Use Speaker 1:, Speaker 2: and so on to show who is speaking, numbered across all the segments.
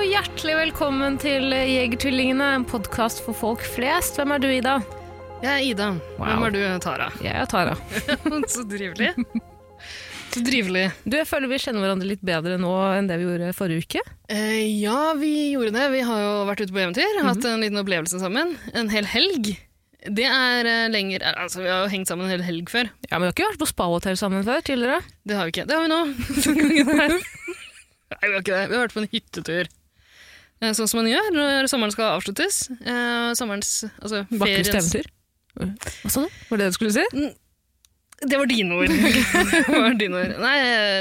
Speaker 1: og hjertelig velkommen til Jegertvillingene, en podkast for folk flest. Hvem er du, Ida?
Speaker 2: Jeg er Ida. Hvem
Speaker 1: Wow.
Speaker 2: er du, Tara?
Speaker 1: Jeg er Tara.
Speaker 2: Så drivelig. Så drivelig.
Speaker 1: Du, Jeg føler vi kjenner hverandre litt bedre nå enn det vi gjorde forrige uke.
Speaker 2: Eh, ja, vi gjorde det. Vi har jo vært ute på eventyr, hatt en liten opplevelse sammen. En hel helg. Det er eh, lenger eh, Altså, vi har jo hengt sammen en hel helg før.
Speaker 1: Ja, Men vi har ikke vært på spahotell sammen før tidligere.
Speaker 2: Det har vi ikke. Det har vi nå. Nei, vi har ikke det. Vi har vært på en hyttetur. Eh, Sånn som man gjør når sommeren skal avsluttes. Eh, sommerens altså,
Speaker 1: Vakreste
Speaker 2: feriens-
Speaker 1: eventyr. Hva sa du? Var det det du skulle si?
Speaker 2: Det var dine ord. det var dine ord. Nei,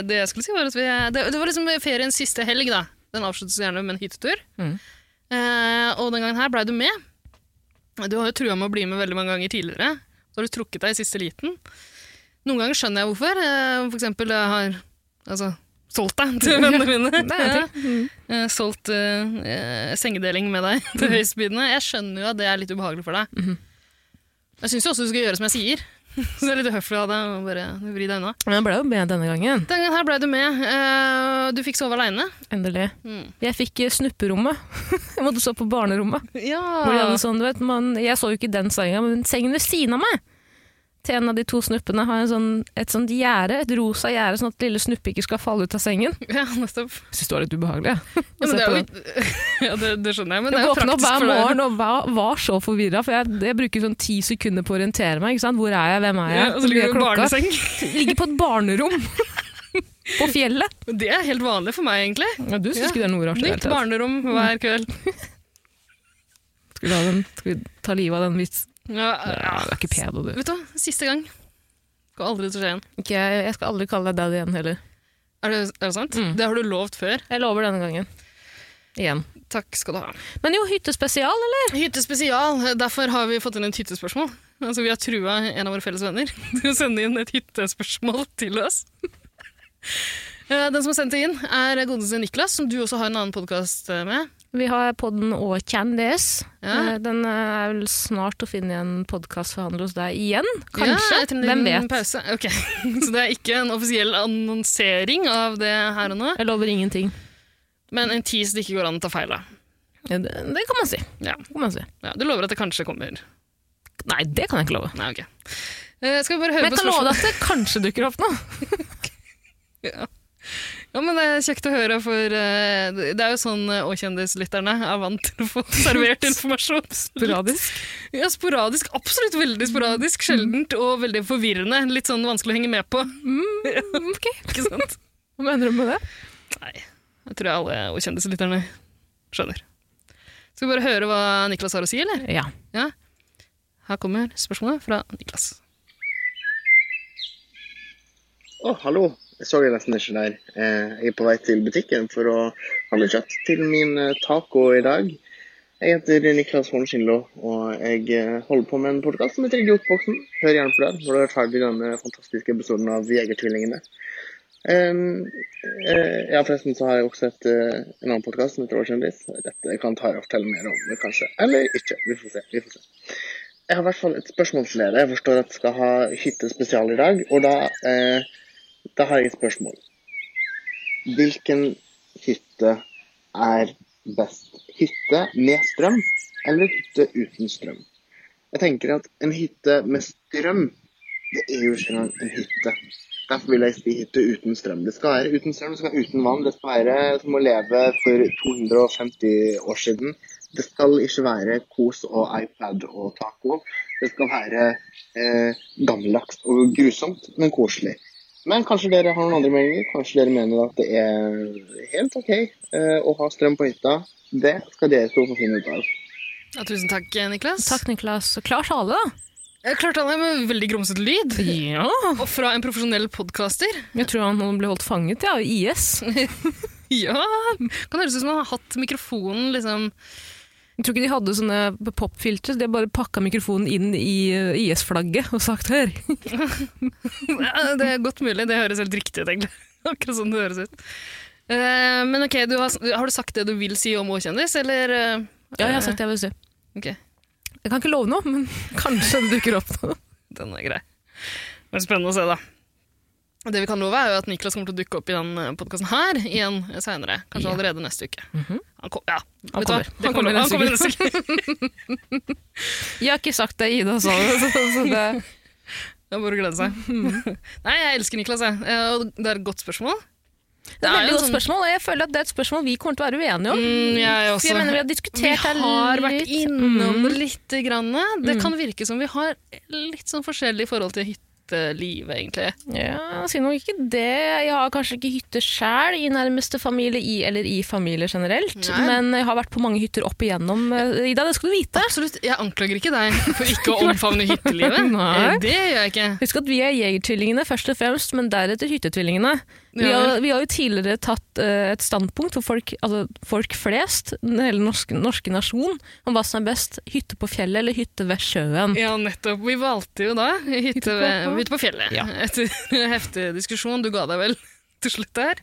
Speaker 2: det jeg skulle si var at vi, det, det var liksom feriens siste helg, da. Den avsluttes gjerne med en hyttetur.
Speaker 1: Mm.
Speaker 2: Eh, og den gangen her blei du med. Du har jo trua med å bli med veldig mange ganger tidligere. Så har du trukket deg i siste liten. Noen ganger skjønner jeg hvorfor. Eh, for eksempel jeg har altså, solgt deg til vennene mine.
Speaker 1: Det Mm. er en ting.
Speaker 2: Eh, solgt eh, eh, sengedeling med deg til høystbydende. Jeg skjønner jo at det er litt ubehagelig for deg.
Speaker 1: Mm-hmm.
Speaker 2: Jeg syns jo også du skal gjøre som jeg sier. Så det er litt uhøflig av deg å bare vri deg unna.
Speaker 1: Men jeg ble jo med denne gangen.
Speaker 2: Den gangen her ble du med. Eh, Du fikk sove aleine.
Speaker 1: Endelig.
Speaker 2: Mm.
Speaker 1: Jeg fikk eh, snupperommet. Jeg måtte stå på barnerommet.
Speaker 2: Ja.
Speaker 1: Hvor de hadde sånn, du vet, man, jeg så jo ikke den senga, men sengen ved siden av meg til en av de to snuppene har en sånn, et sånt gjerde, et rosa gjerde, sånn at lille snuppe ikke skal falle ut av sengen.
Speaker 2: ja, nettopp.
Speaker 1: Jeg synes det var litt ubehagelig. jeg, å
Speaker 2: Ja, men
Speaker 1: se på
Speaker 2: det, er jo,
Speaker 1: den.
Speaker 2: ikke- ja, det, det skjønner jeg, men det er
Speaker 1: Jeg
Speaker 2: jo
Speaker 1: våkna opp
Speaker 2: praktisk
Speaker 1: hver
Speaker 2: for deg.
Speaker 1: morgen og var, var så forvirra, for jeg, jeg bruker sånn ti sekunder på å orientere meg. Ikke sant? Hvor er jeg, hvem er jeg?
Speaker 2: Ja, og så ligger
Speaker 1: Hvor
Speaker 2: du i
Speaker 1: mye er klokka?
Speaker 2: barneseng.
Speaker 1: Ligger på et barnerom på fjellet.
Speaker 2: Men Det er helt vanlig for meg, egentlig.
Speaker 1: Ja, du syns
Speaker 2: Ja.
Speaker 1: ikke det er noe rart? i det hele
Speaker 2: Nytt
Speaker 1: tatt.
Speaker 2: barnerom hver kveld.
Speaker 1: Skal vi, ha den, skal vi ta livet av den vitsen?
Speaker 2: Ja,
Speaker 1: Mm. Ja,
Speaker 2: ja.
Speaker 1: du er ikke pedo, du.
Speaker 2: Vet du hva, siste gang. Går aldri til å skje igjen.
Speaker 1: Ikke, jeg, jeg skal aldri kalle deg dad igjen heller.
Speaker 2: Er det, er det sant?
Speaker 1: Mm.
Speaker 2: Det har du lovt før.
Speaker 1: Jeg lover denne gangen. Igjen.
Speaker 2: Takk skal du ha.
Speaker 1: Men jo, hyttespesial, eller?
Speaker 2: Hyttespesial. Derfor har vi fått inn et hyttespørsmål. Altså, vi har trua en av våre felles venner til å sende inn et hyttespørsmål til oss. Eh, Den som har sendt det inn, er godeste Niklas, som du også har en annen podkast med.
Speaker 1: Vi har podden og Candies. Eh,
Speaker 2: Ja.
Speaker 1: Den er vel snart å finne i en podkast for handel hos deg igjen. Kanskje.
Speaker 2: Ja, etter en
Speaker 1: Hvem vet?
Speaker 2: liten Pause. Ok, Så det er ikke en offisiell annonsering av det her og nå,
Speaker 1: Jeg lover ingenting.
Speaker 2: men en tease det ikke går an å ta feil av.
Speaker 1: Ja, Det, det kan man si.
Speaker 2: Ja.
Speaker 1: Det kan man si.
Speaker 2: Ja, du lover at det kanskje kommer?
Speaker 1: Nei, det kan jeg ikke love.
Speaker 2: Nei, ok. Eh, Skal vi bare høre
Speaker 1: Men jeg
Speaker 2: på
Speaker 1: kan love deg at det kanskje dukker opp noe.
Speaker 2: Ja, men Det er kjekt å høre, for eh, det er jo sånn eh, Å-kjendislytterne er vant til å få servert informasjon.
Speaker 1: Sporadisk. Mm.
Speaker 2: Ja, sporadisk. Absolutt veldig sporadisk. Sjeldent og veldig forvirrende. Litt sånn vanskelig å henge med på.
Speaker 1: Ok,
Speaker 2: ikke sant?
Speaker 1: Hva mener du med det?
Speaker 2: Nei, jeg tror jeg alle Å-kjendislytterne skjønner. Skal vi bare høre hva Niklas har å si, eller?
Speaker 1: Ja.
Speaker 2: Ja. Her kommer spørsmålet fra Niklas.
Speaker 3: Å, hallo. Jeg så deg nesten ikke der. Eh, Jeg er på vei til butikken for å handle kjøtt til min eh, taco i dag. Jeg heter Niklas Horn Schindlo, og jeg eh, holder på med en podkast som heter Idiotboksen. Hør gjerne på den når du er ferdig med denne fantastiske episoden av Jegertvillingene. Em, eh, ja, forresten så har jeg også et, eh, en annen podkast som heter Årskjendis. Dette kan Tara fortelle mer om, kanskje. Eller ikke. Vi får se. Vi får se. Jeg har i hvert fall et spørsmål til dere. Jeg forstår at jeg skal ha hyttespesial i dag, og da eh, da har jeg et spørsmål. Hvilken hytte er best? Hytte med strøm eller hytte uten strøm? Jeg tenker at en hytte med strøm, det er jo ikke engang en hytte. Derfor vil jeg si hytte uten strøm. Det skal være uten strøm, det skal være uten vann. Det skal være som å leve for 250 år siden. Det skal ikke være kos og iPad og taco. Det skal være eh, gammeldags og grusomt, men koselig. Men kanskje dere har noen andre meninger? Kanskje dere mener at det er helt ok eh, å ha strøm på hytta? Det skal dere to få finne ut av.
Speaker 2: Ja, tusen takk, Niklas.
Speaker 1: Takk, Niklas. Klar tale, da.
Speaker 2: Eh, Klart han er med veldig grumsete lyd.
Speaker 1: Ja.
Speaker 2: Og fra en profesjonell podkaster.
Speaker 1: Jeg tror han ble holdt fanget ja, i IS.
Speaker 2: Ja! Kan høres ut som han har hatt mikrofonen liksom
Speaker 1: Jeg tror ikke de hadde sånne popfiltre, så de har bare pakka mikrofonen inn i eh, IS-flagget og sagt 'hør'.
Speaker 2: Ja, Det er godt mulig. Det høres helt riktig ut, egentlig. Akkurat sånn det høres ut. Eh, men ok, du har, har du sagt det du vil si om Åkjendis, eller eh,
Speaker 1: Ja, jeg har sagt det jeg vil si.
Speaker 2: Ok,
Speaker 1: Jeg kan ikke love noe, men kanskje det dukker opp noe.
Speaker 2: den er grei. Det blir spennende å se, da. Det vi kan love, er jo at Niklas kommer til å dukke opp i den podkasten her igjen seinere. Kanskje allerede neste uke. Han, kom, ja.
Speaker 1: Mhm. Han
Speaker 2: Vet du hva?
Speaker 1: kommer.
Speaker 2: Det
Speaker 1: Han
Speaker 2: kan vi
Speaker 1: kommer
Speaker 2: love. Han
Speaker 1: neste
Speaker 2: kommer neste uke.
Speaker 1: Jeg har ikke sagt det Ida sa, så, så det
Speaker 2: Det er bare å glede seg.
Speaker 1: Mhm.
Speaker 2: Nei, jeg elsker Niklas, jeg. Eh, og det er et godt spørsmål.
Speaker 1: Det er et
Speaker 2: jo
Speaker 1: veldig godt
Speaker 2: sånn-
Speaker 1: spørsmål, og jeg føler at det er et spørsmål vi kommer til å være uenige om.
Speaker 2: Mm, jeg også.
Speaker 1: For jeg mener altså, vi har diskutert det
Speaker 2: Vi har vært
Speaker 1: litt.
Speaker 2: innom det
Speaker 1: Mm.
Speaker 2: lite grann. Det kan virke som vi har litt sånn forskjellig forhold til hyttelivet, egentlig.
Speaker 1: Ja, si nok ikke det. Jeg har kanskje ikke hytte sjæl i nærmeste familie i, eller i familie generelt,
Speaker 2: Nei.
Speaker 1: men jeg har vært på mange hytter opp igjennom. eh, Ida, det skal du vite.
Speaker 2: Absolutt. Jeg anklager ikke deg for ikke å omfavne hyttelivet. Eh,
Speaker 1: Nei.
Speaker 2: Det gjør jeg ikke.
Speaker 1: Husk at vi er jegertvillingene først og fremst, men deretter hyttetvillingene. Vi
Speaker 2: Ja vel.
Speaker 1: har, vi har jo tidligere tatt eh, et standpunkt for folk, altså folk flest, den hele norske, norske nasjon, om hva som er best, hytte på fjellet eller hytte ved sjøen.
Speaker 2: Ja, nettopp. Vi valgte jo da hytte,
Speaker 1: på-
Speaker 2: ved, hytte på fjellet.
Speaker 1: Ja.
Speaker 2: Etter heftig diskusjon. Du ga deg vel til slutt der.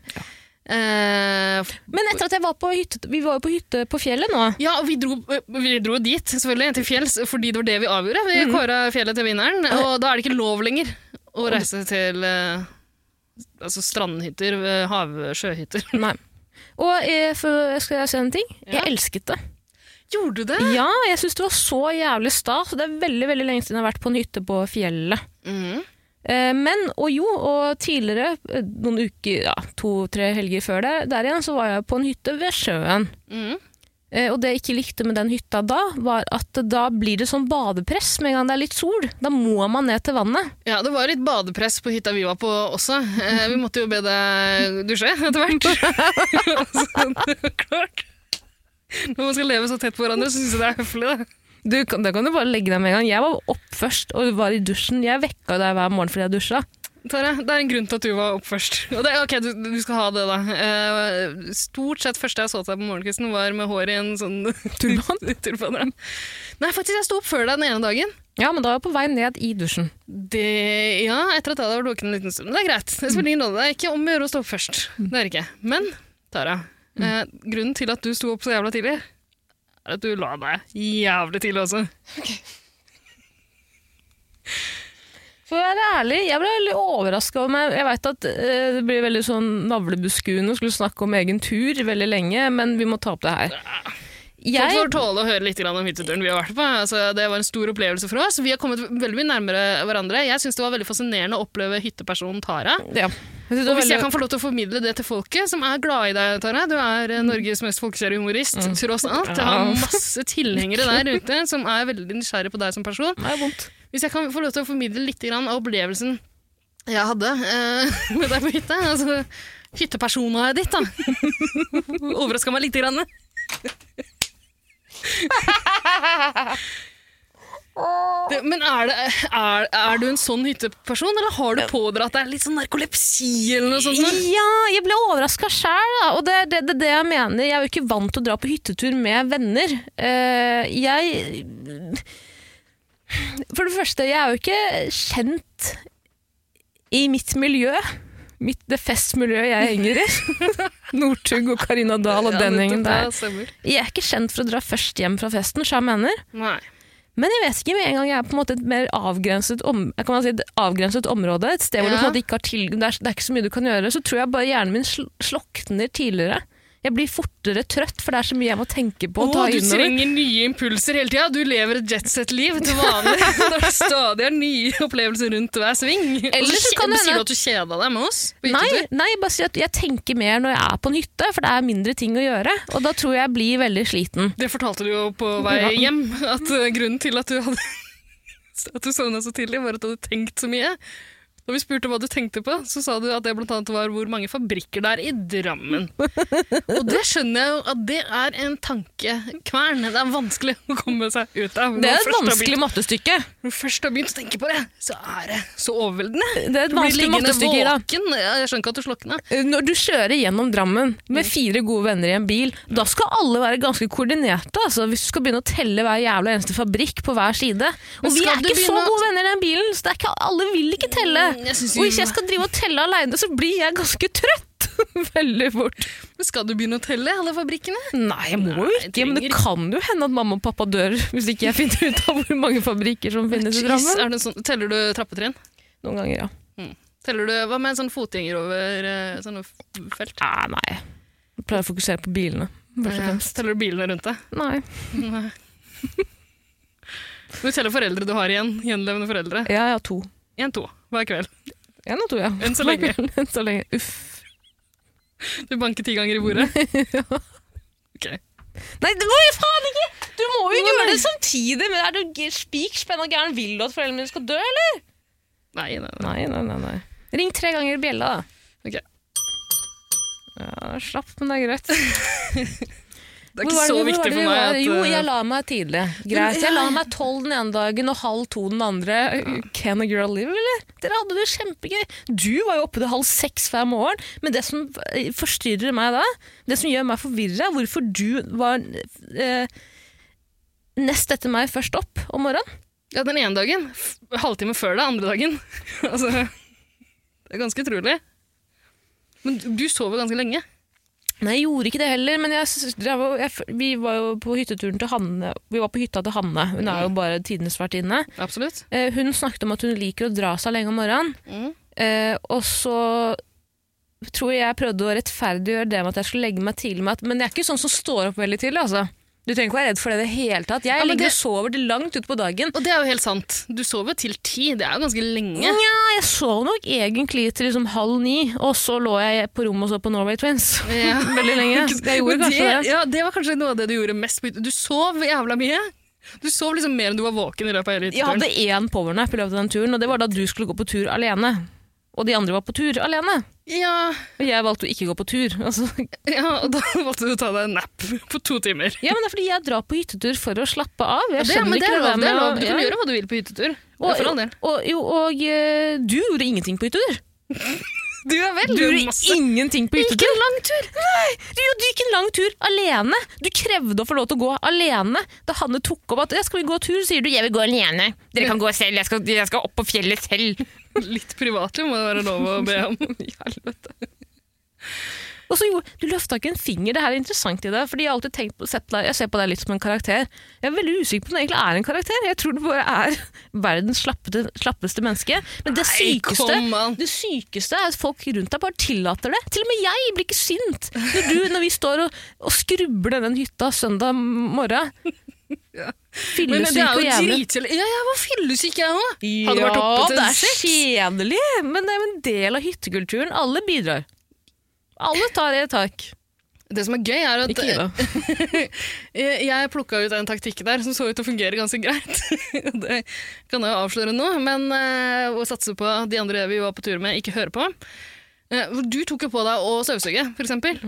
Speaker 2: Eh,
Speaker 1: Men etter at jeg var på hytte, vi var jo på hytte på fjellet nå.
Speaker 2: Ja, og vi dro, vi dro dit, selvfølgelig, til fjells, fordi det var det vi avgjorde. Vi kåra fjellet til vinneren, og da er det ikke lov lenger å reise til eh, altså strandhytter, eh, havsjøhytter.
Speaker 1: Nei. Og eh, for, skal jeg si en ting?
Speaker 2: Ja.
Speaker 1: Jeg elsket det.
Speaker 2: Gjorde du det?
Speaker 1: Ja, jeg syns det var så jævlig stas. og Det er veldig veldig lenge siden jeg har vært på en hytte på fjellet.
Speaker 2: Mhm.
Speaker 1: Eh, Men, og jo, og tidligere, eh, noen uker, ja, to-tre helger før det, der igjen, så var jeg på en hytte ved sjøen.
Speaker 2: Mhm.
Speaker 1: Eh, Og det jeg ikke likte med den hytta da, var at da blir det sånn badepress med en gang det er litt sol. Da må man ned til vannet.
Speaker 2: Ja, det var litt badepress på hytta vi var på også. Eh, Vi måtte jo be deg dusje etter hvert. Så det er klart. Når man skal leve så tett på hverandre, så syns jeg det er høflig, da.
Speaker 1: Du, kan- da kan du bare legge deg med en gang. Jeg var opp først og var i dusjen. Jeg vekka deg hver morgen fordi jeg dusja.
Speaker 2: Tara, det er en grunn til at du var opp først. Og det, ok, du, du skal ha det, da. Eh, stort sett første jeg så til deg på morgenkvisten, var med hår i en sånn
Speaker 1: Turban?
Speaker 2: turban, ja. Nei, faktisk, jeg sto opp før deg den ene dagen.
Speaker 1: Ja, men da var jeg på vei ned i dusjen.
Speaker 2: Det, ja, etter at jeg hadde vært våken en liten stund. Men det er greit. Det spiller ingen rolle. Det er ikke om å gjøre å stå opp først. Det er det ikke. Men, Tara, eh, grunnen til at du sto opp så jævla tidlig, er at du la deg jævlig tidlig også.
Speaker 1: For å være ærlig, jeg ble veldig overraska over meg. Jeg veit at eh, det blir veldig sånn navlebeskuende å skulle snakke om egen tur veldig lenge, men vi må ta opp det her.
Speaker 2: Folk får
Speaker 1: Jeg,
Speaker 2: tåle å høre litt grann om hytteturen vi har vært på. Altså, det var en stor opplevelse for oss. Vi har kommet veldig mye nærmere hverandre. Jeg syns det var veldig fascinerende å oppleve hyttepersonen Tara.
Speaker 1: ja. Jeg synes det var
Speaker 2: Og hvis jeg
Speaker 1: veldig-
Speaker 2: kan få lov til å formidle det til folket, som er glad i deg, Tara Du er eh, Norges mest folkekjære humorist, tross alt. Jeg har
Speaker 1: Mm. Ja.
Speaker 2: masse tilhengere der ute som er veldig nysgjerrig på deg som person.
Speaker 1: Nei, det er vondt.
Speaker 2: Hvis jeg kan få lov til å formidle litt grann av opplevelsen jeg hadde eh, med deg på hytta. Altså, hyttepersona ditt, da. Overraska meg lite grann. Det, men er, det, er, er du en sånn hytteperson, eller har du pådratt deg litt sånn narkolepsi eller noe sånt? noe?
Speaker 1: Ja, jeg ble overraska sjæl, da. Og det er det, det, er det jeg mener. Jeg er jo ikke vant til å dra på hyttetur med venner. Eh, jeg For det første, jeg er jo ikke kjent i mitt miljø. Mitt, det festmiljøet jeg henger i. Northug og Karina Dahl og
Speaker 2: Ja,
Speaker 1: den
Speaker 2: det-
Speaker 1: gjengen
Speaker 2: det
Speaker 1: der.
Speaker 2: stemmer.
Speaker 1: Jeg er ikke kjent for å dra først hjem fra festen, så jeg mener.
Speaker 2: Nei.
Speaker 1: Men jeg vet ikke, med en gang jeg er på en måte et mer avgrenset, om, jeg kan bare si, et avgrenset område, et sted hvor du
Speaker 2: Ja.
Speaker 1: på en måte ikke har til, det, er, det er ikke så mye du kan gjøre, så tror jeg bare hjernen min sl slokner tidligere. Jeg blir fortere trøtt, for det er så mye jeg må tenke på. og
Speaker 2: Å,
Speaker 1: ta
Speaker 2: du
Speaker 1: innover.
Speaker 2: trenger nye impulser hele tida. Du lever et jetset-liv til vanlig. Når det stadig er nye opplevelser rundt hver sving. Og
Speaker 1: Eller så
Speaker 2: kje-
Speaker 1: kan det
Speaker 2: Sier
Speaker 1: hende-
Speaker 2: du at du kjeda deg med oss? på
Speaker 1: Nei,
Speaker 2: hyttetur?
Speaker 1: nei, bare si at jeg tenker mer når jeg er på en hytte, for det er mindre ting å gjøre. Og da tror jeg jeg blir veldig sliten.
Speaker 2: Det fortalte du jo på vei
Speaker 1: Ja.
Speaker 2: hjem, at eh, grunnen til at du hadde at du sovna så tidlig, var at du hadde tenkt så mye. Da vi spurte hva du tenkte på, så sa du at det blant annet var hvor mange fabrikker det er i Drammen. Og det skjønner jeg jo at det er en tankekvern. Det er vanskelig å komme seg ut
Speaker 1: Det er
Speaker 2: av. Når man
Speaker 1: et
Speaker 2: først har
Speaker 1: vanskelig mattestykke.
Speaker 2: begynt- Når du først har begynt å tenke på det, så er det så overveldende.
Speaker 1: Det er et
Speaker 2: Du blir
Speaker 1: vanskelig
Speaker 2: liggende
Speaker 1: mattestykke, Ida.
Speaker 2: våken. Jeg skjønner ikke at du slokna.
Speaker 1: Når du kjører gjennom Drammen
Speaker 2: Mm.
Speaker 1: med fire gode venner i en bil, da skal alle være ganske koordinerte. Altså, hvis du skal begynne å telle hver jævla eneste fabrikk på hver side. Og
Speaker 2: Men
Speaker 1: vi
Speaker 2: skal
Speaker 1: er
Speaker 2: du
Speaker 1: ikke så
Speaker 2: begynne å-
Speaker 1: gode venner i den bilen, så det er ikke, alle vil ikke telle.
Speaker 2: Mm, jeg synes
Speaker 1: Og hvis
Speaker 2: vi-
Speaker 1: jeg skal drive og telle aleine, så blir jeg ganske trøtt. Veldig fort.
Speaker 2: Men Skal du begynne å telle alle fabrikkene?
Speaker 1: Nei, jeg må jo
Speaker 2: Nei,
Speaker 1: ikke, men det
Speaker 2: trenger
Speaker 1: kan jo hende at mamma og pappa dør hvis ikke jeg finner ut av hvor mange fabrikker som finnes i
Speaker 2: Jeez,
Speaker 1: Drammen.
Speaker 2: er det sånn, teller du trappetrinn?
Speaker 1: Noen ganger, ja.
Speaker 2: Teller du, hva med en sånn fotgjenger over eh, sånne f- felt?
Speaker 1: Ah, Nei, nei. Jeg pleier å fokusere på bilene. Først og
Speaker 2: Ja.
Speaker 1: fremst.
Speaker 2: Teller du bilene rundt deg?
Speaker 1: Nei.
Speaker 2: Du teller foreldre du har igjen, gjenlevende foreldre.
Speaker 1: Ja, jeg har to.
Speaker 2: En, to hver kveld.
Speaker 1: En og to, ja.
Speaker 2: Enn så lenge.
Speaker 1: Enn så lenge. Uff.
Speaker 2: Du banker ti ganger i bordet. Ok.
Speaker 1: Nei, det må jo faen ikke! Du må jo
Speaker 2: Nei.
Speaker 1: gjøre det samtidig! Men er du g- spik spenn og gæren? Vil du at foreldrene dine skal dø, eller?
Speaker 2: Nei, nei, nei.
Speaker 1: Nei, nei, nei. nei. Ring tre ganger i bjella, da.
Speaker 2: Ok.
Speaker 1: Ja, slapp, men det er greit.
Speaker 2: Det er ikke så viktig for meg at
Speaker 1: Jo,
Speaker 2: eh,
Speaker 1: jeg la meg tidlig. Greit. Jeg la meg tolv den ene dagen og halv to den andre. Can a girl live, eller? Dere hadde det kjempegøy. Du var jo oppe til halv seks hver morgen. Men det som eh, forstyrrer meg da, det som gjør meg forvirra, hvorfor du var eh, nest etter meg først opp om morgenen.
Speaker 2: Ja, den ene dagen. f- Halvtime før det andre dagen. altså, det er ganske utrolig. Men du, du sover ganske lenge.
Speaker 1: Nei, jeg gjorde ikke det heller, men jeg, s- drev og- jeg, f- vi var jo på hytteturen til Hanne. Vi var på hytta til Hanne. Hun er jo bare tidenes vertinne.
Speaker 2: Absolutt.
Speaker 1: Eh, hun snakket om at hun liker å dra seg lenge om morgenen.
Speaker 2: Mm.
Speaker 1: Eh, og så tror jeg jeg prøvde å rettferdiggjøre det med at jeg skulle legge meg tidlig. Med at, men jeg er ikke sånn som står opp veldig tidlig. altså. Du trenger ikke være redd for det i det hele tatt. Jeg
Speaker 2: Ja, men
Speaker 1: ligger
Speaker 2: det-
Speaker 1: og sover til langt utpå dagen.
Speaker 2: Og det er jo helt sant. Du sover til ti. Det er jo ganske lenge.
Speaker 1: Ja, jeg sov nok egentlig til liksom halv ni, og så lå jeg på rommet og så på Norway Twins.
Speaker 2: Ja.
Speaker 1: Veldig lenge. Jeg gjorde
Speaker 2: Men
Speaker 1: kanskje det.
Speaker 2: Ja, det var kanskje noe av det du gjorde mest. på hytta. Du sov jævla mye. Du sov liksom mer enn du var våken i løpet av hele
Speaker 1: Jeg
Speaker 2: hytteturen.
Speaker 1: hadde én powernap i løpet av den turen, og det var da du skulle gå på tur alene. Og de andre var på tur alene.
Speaker 2: Ja,
Speaker 1: Og jeg valgte å ikke gå på tur. Altså,
Speaker 2: ja, og da valgte du å ta deg en nap på to timer.
Speaker 1: Ja, men det er fordi jeg drar på hyttetur for å slappe av. Jeg
Speaker 2: Det,
Speaker 1: skjønner
Speaker 2: men det
Speaker 1: ikke det
Speaker 2: er lov.
Speaker 1: der
Speaker 2: Det er
Speaker 1: med å-
Speaker 2: lov. Du kan
Speaker 1: ja.
Speaker 2: gjøre hva du vil på hyttetur. Det er for all
Speaker 1: Og,
Speaker 2: del.
Speaker 1: og, jo, og eh, du gjorde ingenting på hyttetur.
Speaker 2: Du er vel
Speaker 1: Du gjorde
Speaker 2: masse.
Speaker 1: ingenting på hyttetur. Gikk en lang tur. Nei, du, jo, du gikk en lang tur alene. Du krevde å få lov til å gå alene. Da Hanne tok opp at «Ja, 'skal vi gå tur', sier du 'jeg vil gå alene'. Dere kan gå selv, jeg skal, jeg skal opp på fjellet selv.
Speaker 2: Litt privatliv må det være lov å be om.
Speaker 1: Og så jo, Du løfta ikke en finger. Det her er interessant i deg. fordi Jeg har alltid tenkt på, sett deg, jeg ser på deg litt som en karakter. Jeg er veldig usikker på om du egentlig er en karakter. Jeg tror du bare er verdens slappete, slappeste menneske. Men det
Speaker 2: Nei,
Speaker 1: sykeste,
Speaker 2: kom an.
Speaker 1: det sykeste er at folk rundt deg bare tillater det. Til og med jeg blir ikke sint når, du, når vi står og, og skrubber ned den hytta søndag morgen.
Speaker 2: Men det
Speaker 1: Fyllesyk
Speaker 2: er
Speaker 1: og
Speaker 2: jo
Speaker 1: jævlig.
Speaker 2: dritkjedelig. Ja, jeg var fyllesyk, jeg òg. Hadde vært
Speaker 1: Ja,
Speaker 2: oppe til
Speaker 1: det er
Speaker 2: seks.
Speaker 1: kjedelig, men det er jo en del av hyttekulturen. Alle bidrar. Alle tar et tak.
Speaker 2: Det som er gøy, er at
Speaker 1: Ikke Ida.
Speaker 2: eh, jeg plukka ut en taktikk der som så ut til å fungere ganske greit. det kan jeg jo avsløre nå, men eh, å satse på at de andre vi var på tur med, ikke hører på. Eh, hvor du tok jo på deg å støvsuge, for eksempel.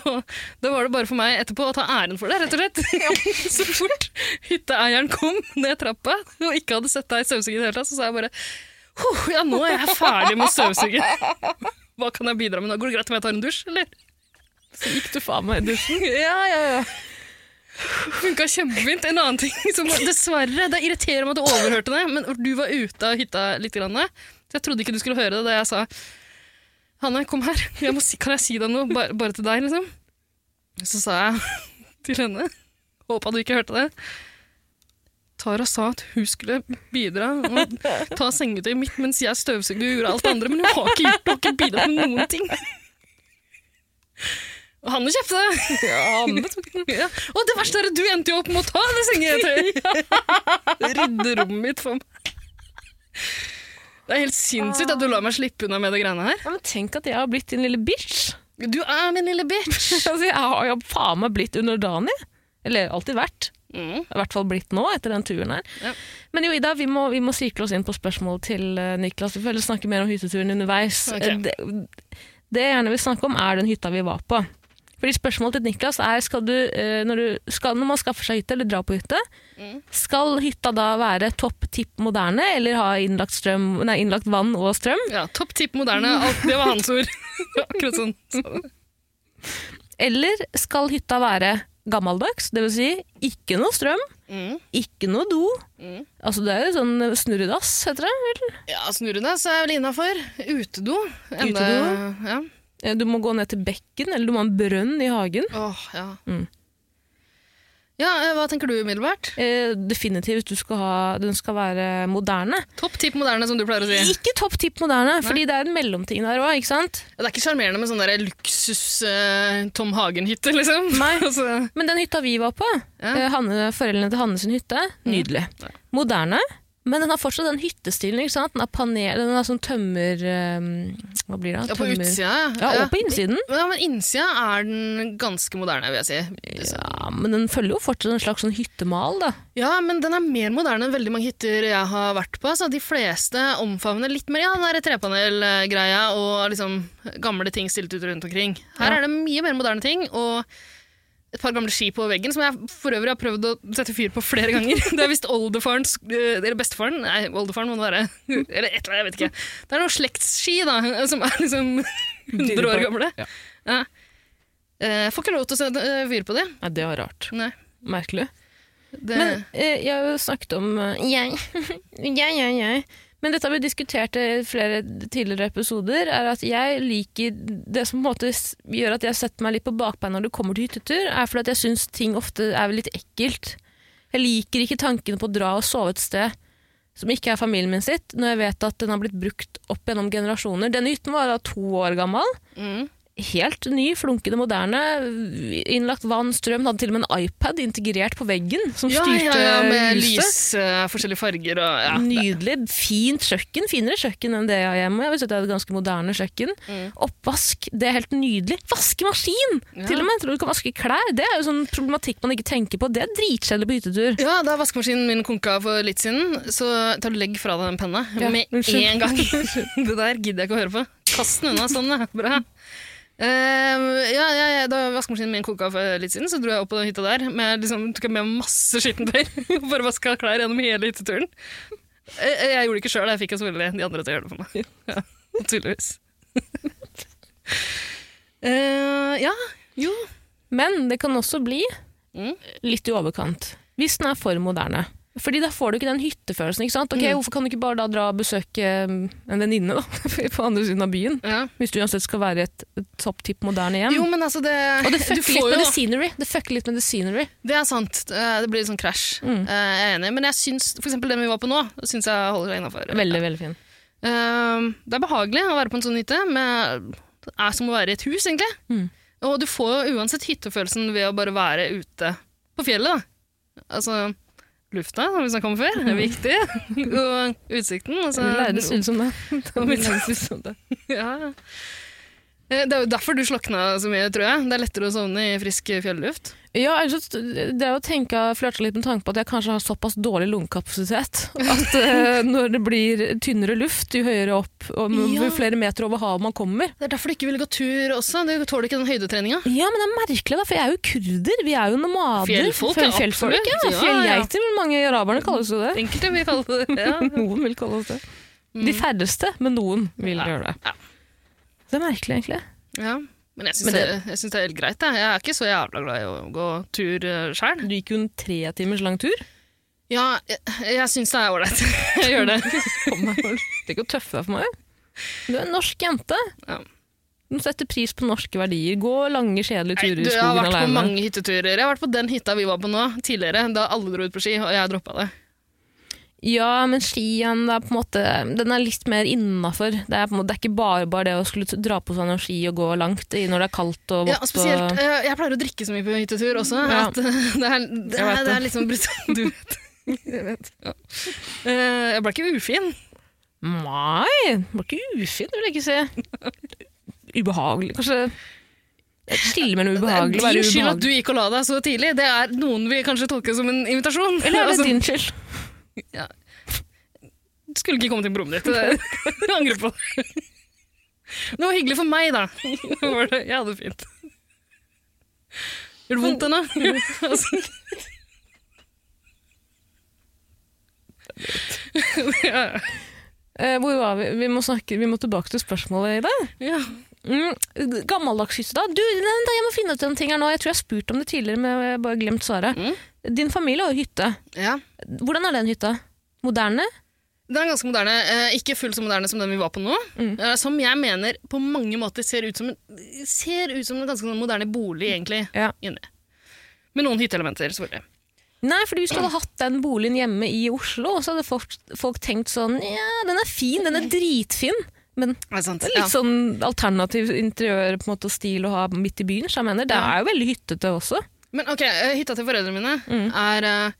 Speaker 2: og da var det bare for meg etterpå å ta æren for det, rett og slett. så fort hytteeieren kom ned trappa og ikke hadde sett deg støvsuge i det hele tatt, så sa jeg bare «Huh, ja, nå er jeg ferdig med å støvsuge. Hva kan jeg bidra med nå? Går det greit om jeg tar en dusj, eller?
Speaker 1: Så gikk du faen meg i dusjen.
Speaker 2: Ja, ja, ja. Funka kjempefint. En annen ting som dessverre Det irriterer meg at du overhørte det, men du var ute av hytta litt. Grann, så jeg trodde ikke du skulle høre det da jeg sa Hanne, kom her. Jeg må si, kan jeg si deg noe? Bare, bare til deg, liksom. Så sa jeg til henne Håpa du ikke hørte det. Tara sa at hun skulle bidra og ta sengetøyet mitt mens jeg støvsugde og gjorde alt det andre, men hun har ikke gjort det, og ikke bidratt med noen ting. Og Hanne kjefta! Ja. Og det verste er at du endte jo opp med å ta det sengetøyet! Rydde rommet mitt for meg. Det er helt sinnssykt at du lar meg slippe unna med de greiene her.
Speaker 1: Ja, men tenk at jeg har blitt din lille bitch.
Speaker 2: Du er min lille bitch!
Speaker 1: Altså, jeg har jo faen meg blitt underdanig. Eller alltid vært.
Speaker 2: Mm.
Speaker 1: I hvert fall blitt nå, etter den turen her.
Speaker 2: Ja.
Speaker 1: Men jo, Ida, vi må, vi må sykle oss inn på spørsmål til eh, Niklas. Vi får heller snakke mer om hytteturen underveis.
Speaker 2: Ok.
Speaker 1: Eh, Det, det jeg gjerne vil snakke om, er den hytta vi var på. Fordi spørsmålet til Niklas er skal du, eh, når, du skal, når man skaffer seg hytte eller drar på hytte,
Speaker 2: Mm.
Speaker 1: skal hytta da være topp tipp moderne, eller ha innlagt, strøm, nei, innlagt vann og strøm?
Speaker 2: Ja, Topp tipp moderne. Alt, det var hans ord. Akkurat sånn. Så,
Speaker 1: Eller skal hytta være gammeldags, dvs. Si, ikke noe strøm,
Speaker 2: mm.
Speaker 1: ikke noe do.
Speaker 2: Mm.
Speaker 1: Altså Det er jo sånn snurredass, heter det. vel?
Speaker 2: Ja, Snurrenes er vel innafor. Utedo. Enda-
Speaker 1: Utedo.
Speaker 2: Ja.
Speaker 1: Eh, Du må gå ned til bekken, eller du må ha en brønn i hagen.
Speaker 2: Åh, ja.
Speaker 1: Mm.
Speaker 2: Ja, eh, hva tenker du umiddelbart?
Speaker 1: Eh, definitivt, du skal ha, den skal være moderne.
Speaker 2: Topp tipp moderne, som du pleier å si.
Speaker 1: Ikke topp tipp moderne, fordi det er en mellomting der òg, ikke sant?
Speaker 2: Ja, Det er ikke sjarmerende med sånn der luksus eh, Tom Hagen-hytte, liksom.
Speaker 1: Nei.
Speaker 2: altså,
Speaker 1: Men den hytta vi var på,
Speaker 2: Ja.
Speaker 1: eh, Hanne, foreldrene til Hanne sin hytte, nydelig. Moderne, men den har fortsatt den hyttestilen. ikke sant? Den har panel, den har sånn tømmer... eh, hva blir det?
Speaker 2: ja, på
Speaker 1: Tømmer-
Speaker 2: utsida.
Speaker 1: Ja, og på innsiden.
Speaker 2: Ja, men innsida er den ganske moderne, vil jeg si.
Speaker 1: Ja, men den følger jo fortsatt en slags sånn hyttemal, da.
Speaker 2: Ja, men den er mer moderne enn veldig mange hytter jeg har vært på. Så de fleste omfavner litt mer ja, den der trepanelgreia og liksom gamle ting stilt ut rundt omkring. Her
Speaker 1: Ja.
Speaker 2: er det mye mer moderne ting, og et par gamle ski på veggen, som jeg for øvrig har prøvd å sette fyr på flere ganger. Det er visst oldefarens Eller bestefaren? Nei, oldefaren må det være. Eller et eller annet, jeg vet ikke. Det er noen slektsski, da, som er liksom 100 år gamle.
Speaker 1: Ja.
Speaker 2: Ja. Eh, Får ikke lov til å sette eh, fyr på det.
Speaker 1: Nei, det var rart.
Speaker 2: Nei.
Speaker 1: Merkelig.
Speaker 2: Det
Speaker 1: Men eh, jeg har jo snakket om eh, jeg. jeg, jeg, jeg. Men dette har vi diskutert i flere tidligere episoder, er at jeg liker Det som på en måte s- gjør at jeg setter meg litt på bakbeina når det kommer til hyttetur, er fordi at jeg syns ting ofte er litt ekkelt. Jeg liker ikke tanken på å dra og sove et sted som ikke er familien min sitt, når jeg vet at den har blitt brukt opp gjennom generasjoner. Denne hytten var da to år gammel.
Speaker 2: mm.
Speaker 1: helt ny, flunkende moderne. Innlagt vann, strøm. Den hadde til og med en iPad integrert på veggen som
Speaker 2: Ja,
Speaker 1: styrte
Speaker 2: ja, ja, med
Speaker 1: huset.
Speaker 2: lys, eh, forskjellige farger og ja.
Speaker 1: Nydelig, fint kjøkken. Finere kjøkken enn det jeg har hjemme. Jeg vil si at jeg har et ganske moderne kjøkken.
Speaker 2: Mm.
Speaker 1: Oppvask, det er helt nydelig. Vaskemaskin!
Speaker 2: Ja.
Speaker 1: Til og med, tror du du kan vaske klær. Det er jo sånn problematikk man ikke tenker på. Det er dritkjedelig på hyttetur.
Speaker 2: Ja, da vaskemaskinen min konka for litt siden, så tar du legg fra deg den penna
Speaker 1: Ja,
Speaker 2: med
Speaker 1: unnskyld.
Speaker 2: en gang. det der gidder jeg ikke å høre på. Kast den unna sånn, ja. Bra. Eh, ja, ja, ja, da vaskemaskinen min koka for litt siden, så dro jeg opp på den hytta der. Med, liksom, tok jeg med masse skittentøy og bare vaska klær gjennom hele hytteturen. Eh, jeg gjorde det ikke sjøl, jeg fikk jo selvfølgelig de andre til å gjøre det for meg. Ja, tydeligvis. Eh, ja, jo.
Speaker 1: Men det kan også bli
Speaker 2: Mm.
Speaker 1: litt i overkant. Hvis den er for moderne. Fordi da får du ikke den hyttefølelsen. ikke sant? Ok,
Speaker 2: Mm.
Speaker 1: Hvorfor kan du ikke bare da dra og besøke mm, en venninne da, på andre siden av byen?
Speaker 2: Ja.
Speaker 1: Hvis du uansett skal være i et, et topp tipp moderne hjem.
Speaker 2: Jo, men altså det,
Speaker 1: og det
Speaker 2: du
Speaker 1: fucker
Speaker 2: får
Speaker 1: litt
Speaker 2: jo-
Speaker 1: med the scenery. Det fucker litt med the scenery.
Speaker 2: Det er sant. Eh, Det blir litt sånn krasj.
Speaker 1: Mm.
Speaker 2: Eh, Jeg er enig. Men jeg syns, for eksempel den vi var på nå, syns jeg holder seg innafor.
Speaker 1: Veldig, veldig fin.
Speaker 2: Det er behagelig å være på en sånn hytte. Men det er som å være i et hus, egentlig.
Speaker 1: Mm.
Speaker 2: Og du får jo uansett hyttefølelsen ved å bare være ute på fjellet. Da. Altså lufta, som vi snakka om før, er viktig. Og utsikten. Altså,
Speaker 1: Det lærdes ut som det.
Speaker 2: var
Speaker 1: Det lærdes ut som det.
Speaker 2: ja. Eh, Det er jo derfor du slokna så mye, tror jeg. Det er lettere å sovne i frisk fjelluft.
Speaker 1: Ja, ellers så- det er jo å tenke, flørte litt med tanke på at jeg kanskje har såpass dårlig lungekapasitet at eh, når det blir tynnere luft, jo høyere opp og jo
Speaker 2: Ja.
Speaker 1: flere meter over havet man kommer,
Speaker 2: Det er derfor du ikke vil gå tur også. Du tåler ikke den høydetreninga.
Speaker 1: Ja, men det er merkelig, da, for jeg er jo kurder. Vi er jo nomader.
Speaker 2: Fjellfolk,
Speaker 1: Fjell-
Speaker 2: ja,
Speaker 1: fjellfolk, ja.
Speaker 2: absolutt. Ja,
Speaker 1: Fjellgeiter vil mange araberne kalle seg det.
Speaker 2: Enkelte vil kalle det det. Ja.
Speaker 1: Noen vil kalle oss det. De færreste, men noen vil
Speaker 2: Ja,
Speaker 1: gjøre
Speaker 2: ja.
Speaker 1: det. Det er merkelig, egentlig.
Speaker 2: Ja. Men jeg syns
Speaker 1: Men
Speaker 2: det,
Speaker 1: det-
Speaker 2: jeg synes det er helt greit. Jeg. jeg er ikke så jævla glad i å gå tur sjøl.
Speaker 1: Du gikk jo en tre timers lang tur.
Speaker 2: Ja, jeg, jeg syns det er ålreit. Jeg gjør det.
Speaker 1: Kom deg vel. Det er ikke å tøffe deg for meg. Du er en norsk jente.
Speaker 2: Ja.
Speaker 1: Du setter pris på norske verdier. Gå lange, kjedelige
Speaker 2: Nei,
Speaker 1: turer
Speaker 2: du,
Speaker 1: i
Speaker 2: jeg har
Speaker 1: skogen
Speaker 2: vært på
Speaker 1: alene.
Speaker 2: mange hytteturer. Jeg har vært på den hytta vi var på nå, tidligere, da alle dro ut på ski, og jeg droppa det.
Speaker 1: Ja, men skien det er på en måte, den er litt mer innafor. Det, er på en måte- det er ikke bare bare det å skulle t- dra på seg noen ski og gå langt i når det er kaldt og
Speaker 2: Ja,
Speaker 1: vått.
Speaker 2: spesielt,
Speaker 1: og-
Speaker 2: eh, jeg pleier å drikke så mye på hyttetur også,
Speaker 1: Ja.
Speaker 2: at eh, det er, det
Speaker 1: Jeg
Speaker 2: er,
Speaker 1: vet
Speaker 2: det
Speaker 1: det.
Speaker 2: er liksom brutalt. Du vet. Ja. Eh, Jeg ble ikke ufin.
Speaker 1: Nei, det var ikke ufint, vil jeg ikke si. Ubehagelig, kanskje. Chille, men ubehagelig. Være
Speaker 2: Din skyld at du
Speaker 1: ubehagelig.
Speaker 2: gikk og la deg så tidlig, det er noen vil kanskje tolke som en invitasjon.
Speaker 1: Eller er det
Speaker 2: Altså,
Speaker 1: din skyld?
Speaker 2: Du skulle ikke kommet inn på rommet ditt. det- Jeg angrer på det. Men Det var hyggelig for meg, da. Det Var det. Jeg hadde det fint. Gjør det vondt ennå? Altså. Ja, ja.
Speaker 1: Eh, hvor var vi? Vi må, snakke, vi må tilbake til spørsmålet i dag.
Speaker 2: ja.
Speaker 1: Mm, gammeldags skyss, da. Du, nei, da, jeg må finne ut en ting her nå. Jeg tror jeg har spurt om det tidligere, men jeg har bare glemt svaret.
Speaker 2: Mm.
Speaker 1: Din familie har jo hytte.
Speaker 2: ja.
Speaker 1: Hvordan er den hytta? Moderne?
Speaker 2: Den er ganske moderne. eh, Ikke fullt så moderne som den vi var på nå.
Speaker 1: Mm.
Speaker 2: eh, Som jeg mener på mange måter ser ut som en, ser ut som en ganske sånn moderne bolig, egentlig.
Speaker 1: Ja.
Speaker 2: Inni. Med noen hytteelementer, selvfølgelig.
Speaker 1: Nei, fordi hvis du hadde hatt den boligen hjemme i Oslo, så hadde folk, folk tenkt sånn Ja, den er fin, den er dritfin. Men
Speaker 2: Er det sant?
Speaker 1: det er
Speaker 2: Ja.
Speaker 1: litt sånn alternativ interiør på en måte, og stil å ha midt i byen. Så jeg mener, det
Speaker 2: Ja.
Speaker 1: er jo veldig hyttete også.
Speaker 2: Men ok, eh, hytta til foreldrene mine
Speaker 1: Mm.
Speaker 2: er eh,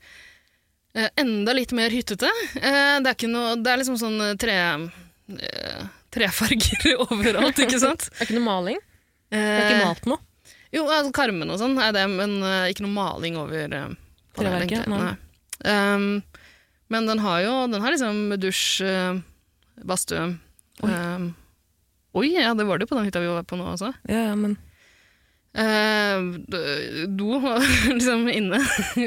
Speaker 2: eh, enda litt mer hyttete. Eh, det, er ikke noe, det er liksom sånn eh, tre, eh, trefarger overalt, ikke sant?
Speaker 1: Det
Speaker 2: Eh,
Speaker 1: er ikke noe maling. Eh. Det er ikke malt noe.
Speaker 2: Jo, altså, karmen og sånn er det, men eh, ikke noe maling over eh, på det,
Speaker 1: Treverket,
Speaker 2: egentlig.
Speaker 1: nei.
Speaker 2: Nei. Ehm, men den har jo den har liksom dusj, eh, badstue Oi. oi, ja, det var det jo på den hytta vi var på nå også.
Speaker 1: Ja, ja, men
Speaker 2: Eh, d- do var liksom inne.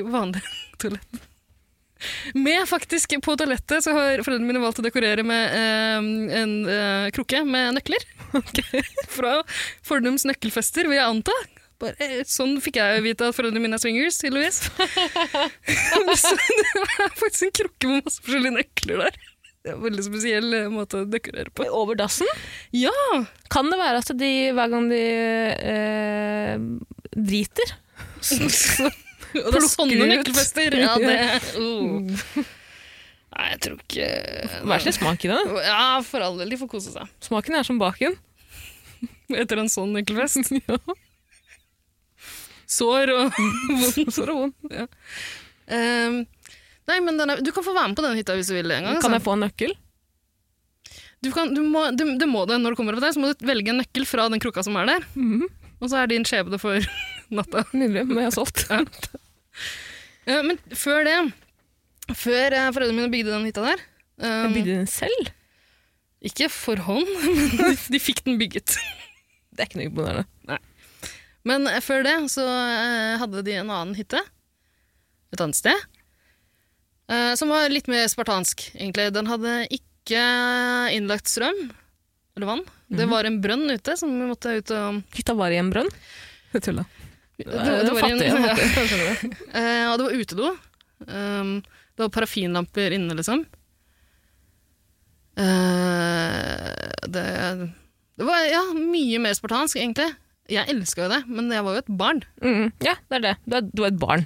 Speaker 2: Vanlig toalett. Med faktisk På toalettet så har foreldrene mine valgt å dekorere med eh, en eh, krukke med nøkler. Fra Fornums nøkkelfester, vil jeg anta. Bare, eh, sånn fikk jeg vite at foreldrene mine er swingers, tydeligvis. så det er faktisk en krukke med masse forskjellige nøkler der. Det er en veldig spesiell eh, måte å dekorere på.
Speaker 1: Over dassen?
Speaker 2: Ja!
Speaker 1: Kan det være at de, hver gang de eh, driter
Speaker 2: Så, og det
Speaker 1: Plukker
Speaker 2: er sånne
Speaker 1: ut.
Speaker 2: nøkkelfester. Ja, det uh. Nei, jeg tror ikke
Speaker 1: Hver sin smak i det.
Speaker 2: Ja, for all del. De får kose seg
Speaker 1: Smaken er som baken.
Speaker 2: etter en sånn nøkkelfest. Sår og vondt. Sår og vondt, ja. Ehm, nei, men den er, Du kan få være med på den hytta hvis du vil. en gang.
Speaker 1: Kan
Speaker 2: altså.
Speaker 1: jeg få en nøkkel?
Speaker 2: Du kan, du må, du, det må det når du kommer opp der, så må du velge en nøkkel fra den krukka som er der.
Speaker 1: Mhm.
Speaker 2: Og så er din skjebne for natta.
Speaker 1: Nydelig, men jeg har solgt.
Speaker 2: Eh, men før det Før eh, foreldrene mine bygde den hytta der
Speaker 1: Jeg
Speaker 2: um,
Speaker 1: bygde den selv.
Speaker 2: Ikke for hånd, men de, de fikk den bygget.
Speaker 1: Det er ikke noe imponerende.
Speaker 2: Men eh, før det så eh, hadde de en annen hytte, et annet sted, eh, som var litt mer spartansk, egentlig. Den hadde ikke innlagt strøm, eller vann. Det var en brønn ute som vi måtte ut og
Speaker 1: Hytta var i en brønn. Jeg tulla.
Speaker 2: Det,
Speaker 1: det
Speaker 2: var en-
Speaker 1: fatter jeg,
Speaker 2: Ja. Eh, og det var utedo. Um, det var parafinlamper inne, liksom. Eh, det, det var ja, mye mer spartansk, egentlig. Jeg elska jo det, men jeg var jo et barn.
Speaker 1: Mm, ja, det er det. Du er, du er et barn.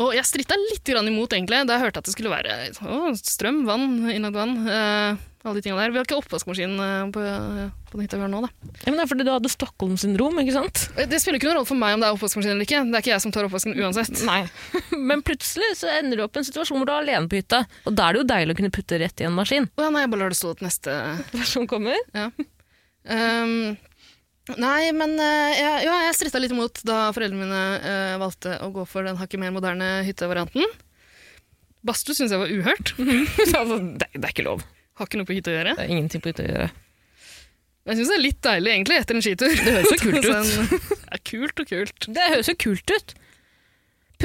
Speaker 2: Og jeg stritta litt grann imot, egentlig, da jeg hørte at det skulle være å, strøm, vann, innlagt vann. eh, alle de tingene der. Vi har ikke oppvaskmaskin eh, på, på den hytta vi har nå, da. Eh,
Speaker 1: Ja, men det er fordi du hadde Stockholm-syndrom, ikke sant?
Speaker 2: Det spiller ikke noen rolle for meg om det er oppvaskmaskin eller ikke. Det er ikke jeg som tar oppvasken uansett.
Speaker 1: Nei. men plutselig så ender du opp i en situasjon hvor du er alene på hytta. Og da er det jo deilig å kunne putte rett i en maskin.
Speaker 2: Å ja, nei, jeg bare lar det stå til neste
Speaker 1: Hva som kommer?
Speaker 2: Ehm, nei, men eh, jeg, ja, jeg stritta litt imot da foreldrene mine eh, valgte å gå for den hakket mer moderne hyttevarianten. Badstue syns jeg var uhørt.
Speaker 1: altså, det, det er ikke lov.
Speaker 2: Har ikke noe på hytta å gjøre.
Speaker 1: Det er ingenting på hytta å gjøre.
Speaker 2: Jeg syns det er litt deilig, egentlig, etter en skitur. Det
Speaker 1: høres jo kult ut.
Speaker 2: ja, kult og kult.
Speaker 1: Det høres jo kult ut.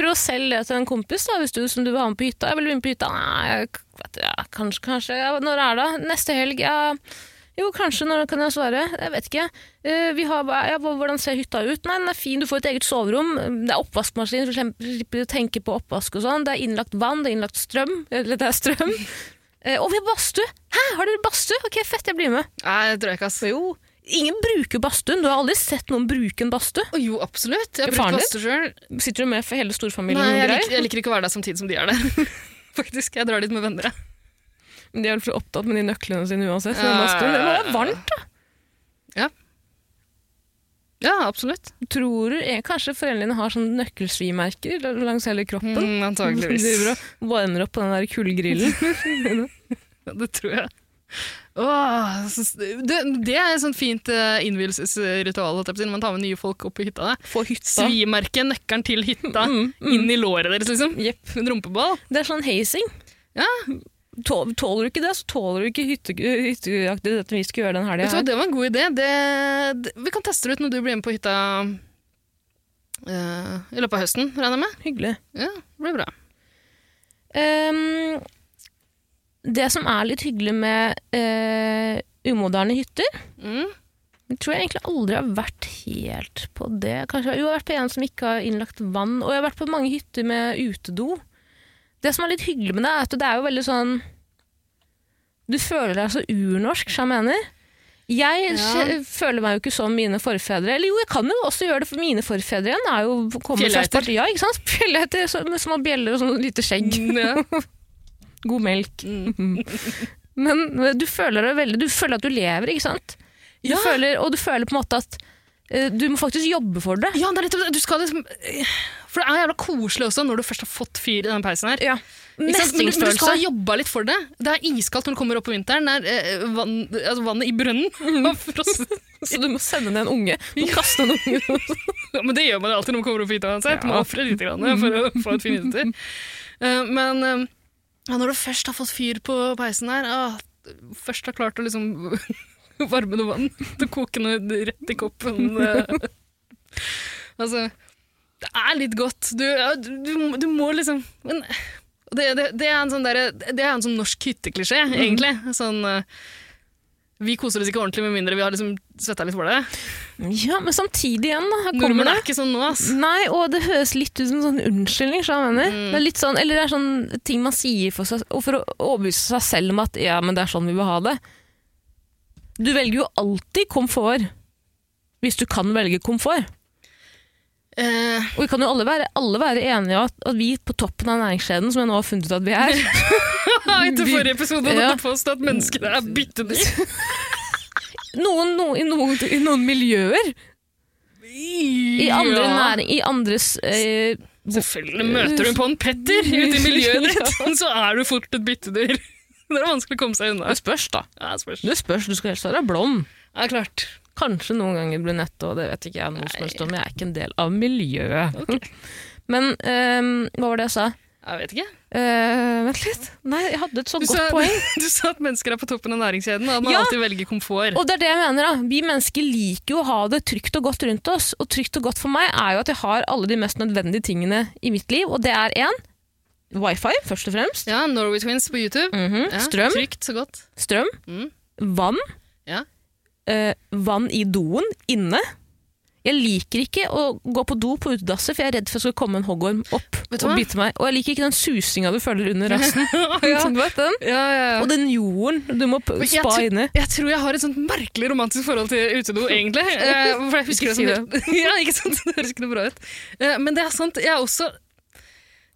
Speaker 1: Prøv å selge det til en kompis da, hvis du, som du vil ha med på hytta. Jeg vil være med på hytta. Nei, jeg, vet, du, ja, kanskje, kanskje. Ja, når er det? Neste helg? Ja. Jo, kanskje. Når kan jeg svare? Jeg vet ikke. Eh, vi har, bare- ja, hva- hvordan ser hytta ut? Nei, den er fin. Du får et eget soverom. Det er oppvaskmaskin, så slem- slipper du å tenke på oppvask og sånn. Det er innlagt vann, det er innlagt strøm. Eller det er strøm. Eh, og vi har badstue! Hæ, har dere badstue? Ok, fett, jeg blir med.
Speaker 2: Nei, det tror jeg ikke, ass.
Speaker 1: Jo. Ingen bruker badstuen. Du har aldri sett noen bruke en badstue.
Speaker 2: Å, jo, absolutt. Jeg har
Speaker 1: Faren
Speaker 2: brukt
Speaker 1: din?
Speaker 2: badstue sjøl.
Speaker 1: Sitter du med for hele storfamilien?
Speaker 2: Nei,
Speaker 1: og
Speaker 2: jeg
Speaker 1: greier?
Speaker 2: liker, jeg liker ikke å være der samtidig som de er der. Faktisk. Jeg drar dit med venner, jeg.
Speaker 1: De er vel så opptatt med de nøklene sine uansett. Så det
Speaker 2: Ja,
Speaker 1: er bare stund. det må
Speaker 2: ja,
Speaker 1: være varmt, da.
Speaker 2: Ja, absolutt.
Speaker 1: Tror du eh, kanskje foreldrene dine har sånne nøkkelsvimerker l- langs hele kroppen?
Speaker 2: Mm,
Speaker 1: De
Speaker 2: antageligvis.
Speaker 1: driver og varmer opp på den der kullgrillen.
Speaker 2: Ja, det tror jeg. Åh, så- det, det er et sånt fint eh, innvielsesritual. holdt jeg på å si, når Man tar med nye folk opp på hytta.
Speaker 1: Få hytta.
Speaker 2: Svimerke nøkkelen til hytta inn i låret deres, liksom.
Speaker 1: Mm, Jepp.
Speaker 2: En rumpeball.
Speaker 1: Det er sånn hazing.
Speaker 2: Ja.
Speaker 1: Tå- Tåler du ikke det, så tåler du ikke hytte- hytteaktiviteten vi skal gjøre den helga.
Speaker 2: Vet du hva, Det var en god idé. Det, det, vi kan teste det ut når du blir med på hytta eh, i løpet av høsten, regner jeg med.
Speaker 1: Hyggelig.
Speaker 2: Ja, det blir bra.
Speaker 1: Ehm, det som er litt hyggelig med eh, umoderne hytter
Speaker 2: Mm.
Speaker 1: Jeg tror jeg egentlig aldri har vært helt på det. Kanskje, jo, jeg har vært på en som ikke har innlagt vann, og jeg har vært på mange hytter med utedo. Det som er litt hyggelig med det, er at det er jo veldig sånn Du føler deg så urnorsk, som jeg mener. Jeg sj- føler meg jo ikke som mine forfedre. Eller jo, jeg kan jo også gjøre det, for mine forfedre igjen er jo kommer fra
Speaker 2: Fjellheter.
Speaker 1: Spartia. ikke sant? Fjellheter så- med små bjeller og sånn lite skjegg. God melk. Men eh, du føler deg veldig Du føler at du lever, ikke sant? Du
Speaker 2: Ja.
Speaker 1: føler, og du føler på en måte at eh, du må faktisk jobbe for det.
Speaker 2: Ja, det er litt, du skal liksom For det er jævla koselig også når du først har fått fyr i den peisen her.
Speaker 1: Ja.
Speaker 2: Ikke sant? Men, du- men du skal ha
Speaker 1: Mestringsfølelse.
Speaker 2: jobba litt for det. Det er iskaldt når du kommer opp på vinteren. Det er eh, vann, altså vannet i brønnen har frosset.
Speaker 1: Så du må sende ned en unge. Du må kaste en unge.
Speaker 2: Ja, men det gjør man jo alltid når man kommer opp hit uansett.
Speaker 1: Ja.
Speaker 2: Man ofrer litt grann, eh, for å få et fint vinter. Eh, Men eh, ja, når du først har fått fyr på peisen her ah, Først har klart å liksom varme noe vann til kokende rett i koppen eh. Altså Det er litt godt. Du, ja, du, du, må- du må liksom men, det, det, det er en sånn, derre- det er en sånn norsk hytteklisjé,
Speaker 1: Mhm.
Speaker 2: egentlig. Sånn eh, Vi koser oss ikke ordentlig med mindre vi har liksom svetta litt for det.
Speaker 1: Ja, men samtidig igjen, da. Her kommer
Speaker 2: Nordmenn
Speaker 1: det.
Speaker 2: er ikke sånn nå, ass.
Speaker 1: Nei, og det høres litt ut som en sånn unnskyldning, så jeg mener. Det er litt sånn, eller det er sånn ting man sier for, seg, og for å overbevise seg selv om at ja, men det er sånn vi vil ha det. Du velger jo alltid komfort, hvis du kan velge komfort.
Speaker 2: Eh,
Speaker 1: Og vi kan jo alle være, alle være enige om at, at vi på toppen av næringskjeden, som jeg nå har funnet ut at vi er,
Speaker 2: etter
Speaker 1: Vi-
Speaker 2: forrige episode hadde
Speaker 1: Ja.
Speaker 2: du påstått at menneskene er bytte dyr.
Speaker 1: noen, noen, i, noen, i noen miljøer, i andre,
Speaker 2: Ja.
Speaker 1: næring, i andres eh,
Speaker 2: Selvfølgelig møter du på en Petter ute i miljøet ditt, så er du fort et byttedyr. Det er vanskelig å komme seg unna.
Speaker 1: Det spørs, da.
Speaker 2: Ja, spørs.
Speaker 1: Det spørs, du skal helst være blond.
Speaker 2: Ja, klart.
Speaker 1: Kanskje noen ganger brunett, og det vet ikke jeg noe som helst om. Jeg er ikke en del av miljøet. Men ehm, hva var det jeg sa?
Speaker 2: Jeg vet ikke.
Speaker 1: Eh, vent litt. Nei, jeg hadde et så
Speaker 2: Du
Speaker 1: godt
Speaker 2: sa,
Speaker 1: poeng.
Speaker 2: du sa at mennesker er på toppen av næringskjeden, og at man
Speaker 1: Ja.
Speaker 2: alltid velger komfort.
Speaker 1: Og det er det jeg mener da. Vi mennesker liker jo å ha det trygt og godt rundt oss. Og trygt og godt for meg er jo at jeg har alle de mest nødvendige tingene i mitt liv. Og det er én wifi, først og fremst.
Speaker 2: Ja, Norway Twins på YouTube.
Speaker 1: Mhm.
Speaker 2: Ja,
Speaker 1: Strøm.
Speaker 2: Trygt, så godt.
Speaker 1: Strøm.
Speaker 2: Mm.
Speaker 1: Vann.
Speaker 2: Ja.
Speaker 1: Eh, vann i doen. Inne. Jeg liker ikke å gå på do på utedasset, for jeg er redd for at det skal komme en hoggorm opp
Speaker 2: Vet du
Speaker 1: og
Speaker 2: hva?
Speaker 1: bite meg. Og jeg liker ikke den susinga du føler under rassen.
Speaker 2: Ja.
Speaker 1: Du vet den?
Speaker 2: Ja, ja, ja.
Speaker 1: Og den jorden du må p-
Speaker 2: Men jeg
Speaker 1: spa
Speaker 2: tror-
Speaker 1: inni.
Speaker 2: Jeg tror jeg har et sånt merkelig romantisk forhold til utedo, egentlig. Eh, For jeg husker
Speaker 1: Ikke
Speaker 2: det
Speaker 1: si
Speaker 2: som helt... Ja, ikke sant? Det høres ikke noe bra ut. Eh, Men det er sant, jeg er også...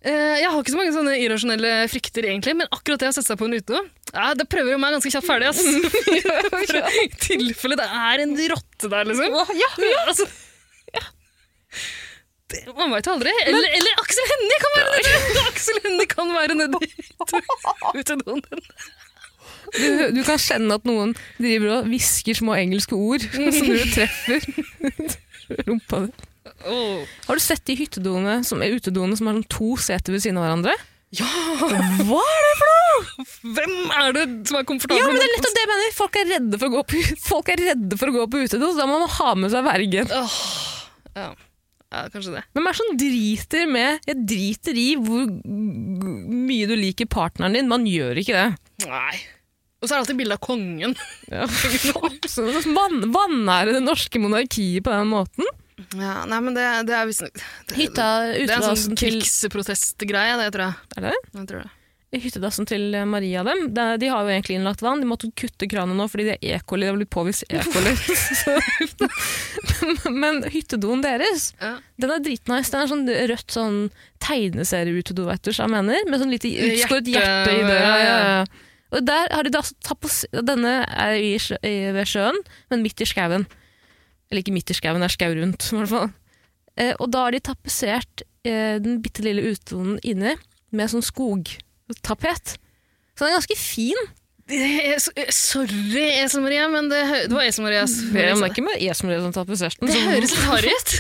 Speaker 2: eh, Jeg har ikke så mange sånne irrasjonelle frykter, egentlig, men akkurat det å sette seg på en utedo, ja, det prøver jo meg ganske kjapt ferdig, ass. I tilfelle det er en rotte der, liksom.
Speaker 1: Ja,
Speaker 2: Ja, altså... Det, man veit jo aldri. Eller, eller Aksel Hennie kan være nedi! Aksel Hennie kan være nedi utedoen din.
Speaker 1: Du, du kan kjenne at noen driver og hvisker små engelske ord som du treffer rumpa di.
Speaker 2: Åh.
Speaker 1: Har du sett de hyttedoene som er utedoene som har sånn to seter ved siden av hverandre?
Speaker 2: Ja!
Speaker 1: Hva er det for noe?!
Speaker 2: Hvem er det som er komfortabel?
Speaker 1: Ja, men det er nettopp det jeg mener! Folk er redde for å gå på, folk er redde for å gå på utedo, så da må man ha med seg vergen.
Speaker 2: Åh, ja. ja, kanskje det.
Speaker 1: Hvem er det som driter med Jeg driter i hvor g- mye du liker partneren din, man gjør ikke det.
Speaker 2: Nei. Og så er det alltid bilde av kongen.
Speaker 1: Ja, så vann- Vanære det norske monarkiet på den måten.
Speaker 2: Ja, nei, men det, det er visstnok det,
Speaker 1: Hytta,
Speaker 2: det er en
Speaker 1: utedassen
Speaker 2: sånn
Speaker 1: til
Speaker 2: krigsprotestgreie, det tror jeg.
Speaker 1: Er det det?
Speaker 2: jeg tror det.
Speaker 1: hyttedassen til eh, Maria og dem, de, de har jo egentlig innlagt vann. De måtte kutte kranen nå fordi det er E. coli. Det har blitt påvist E. coli. Så- Men hyttedoen deres,
Speaker 2: Ja.
Speaker 1: den er dritnice. Den er sånn rødt sånn tegneserieutdo, vet du hva jeg mener. Med sånn lite utskåret hjerte
Speaker 2: Hjerte,
Speaker 1: i døra.
Speaker 2: ja, ja.
Speaker 1: ja, ja. Og der har de da altså tatt på s- Denne er i, sjø- i, ved sjøen, men midt i skauen. Eller ikke midt i skauen, det er skau rundt. i hvert fall. Eh, og da har de tapetsert eh, den bitte lille utedoen inni med sånn skogtapet. Så den er ganske fin.
Speaker 2: Jeg- Sorry, Esel Maria, men det, hø- det var Esel Marias.
Speaker 1: Ja, men det er ikke med Esmeralda som tar på kjæresten.
Speaker 2: Det
Speaker 1: så-
Speaker 2: høres litt harry ut.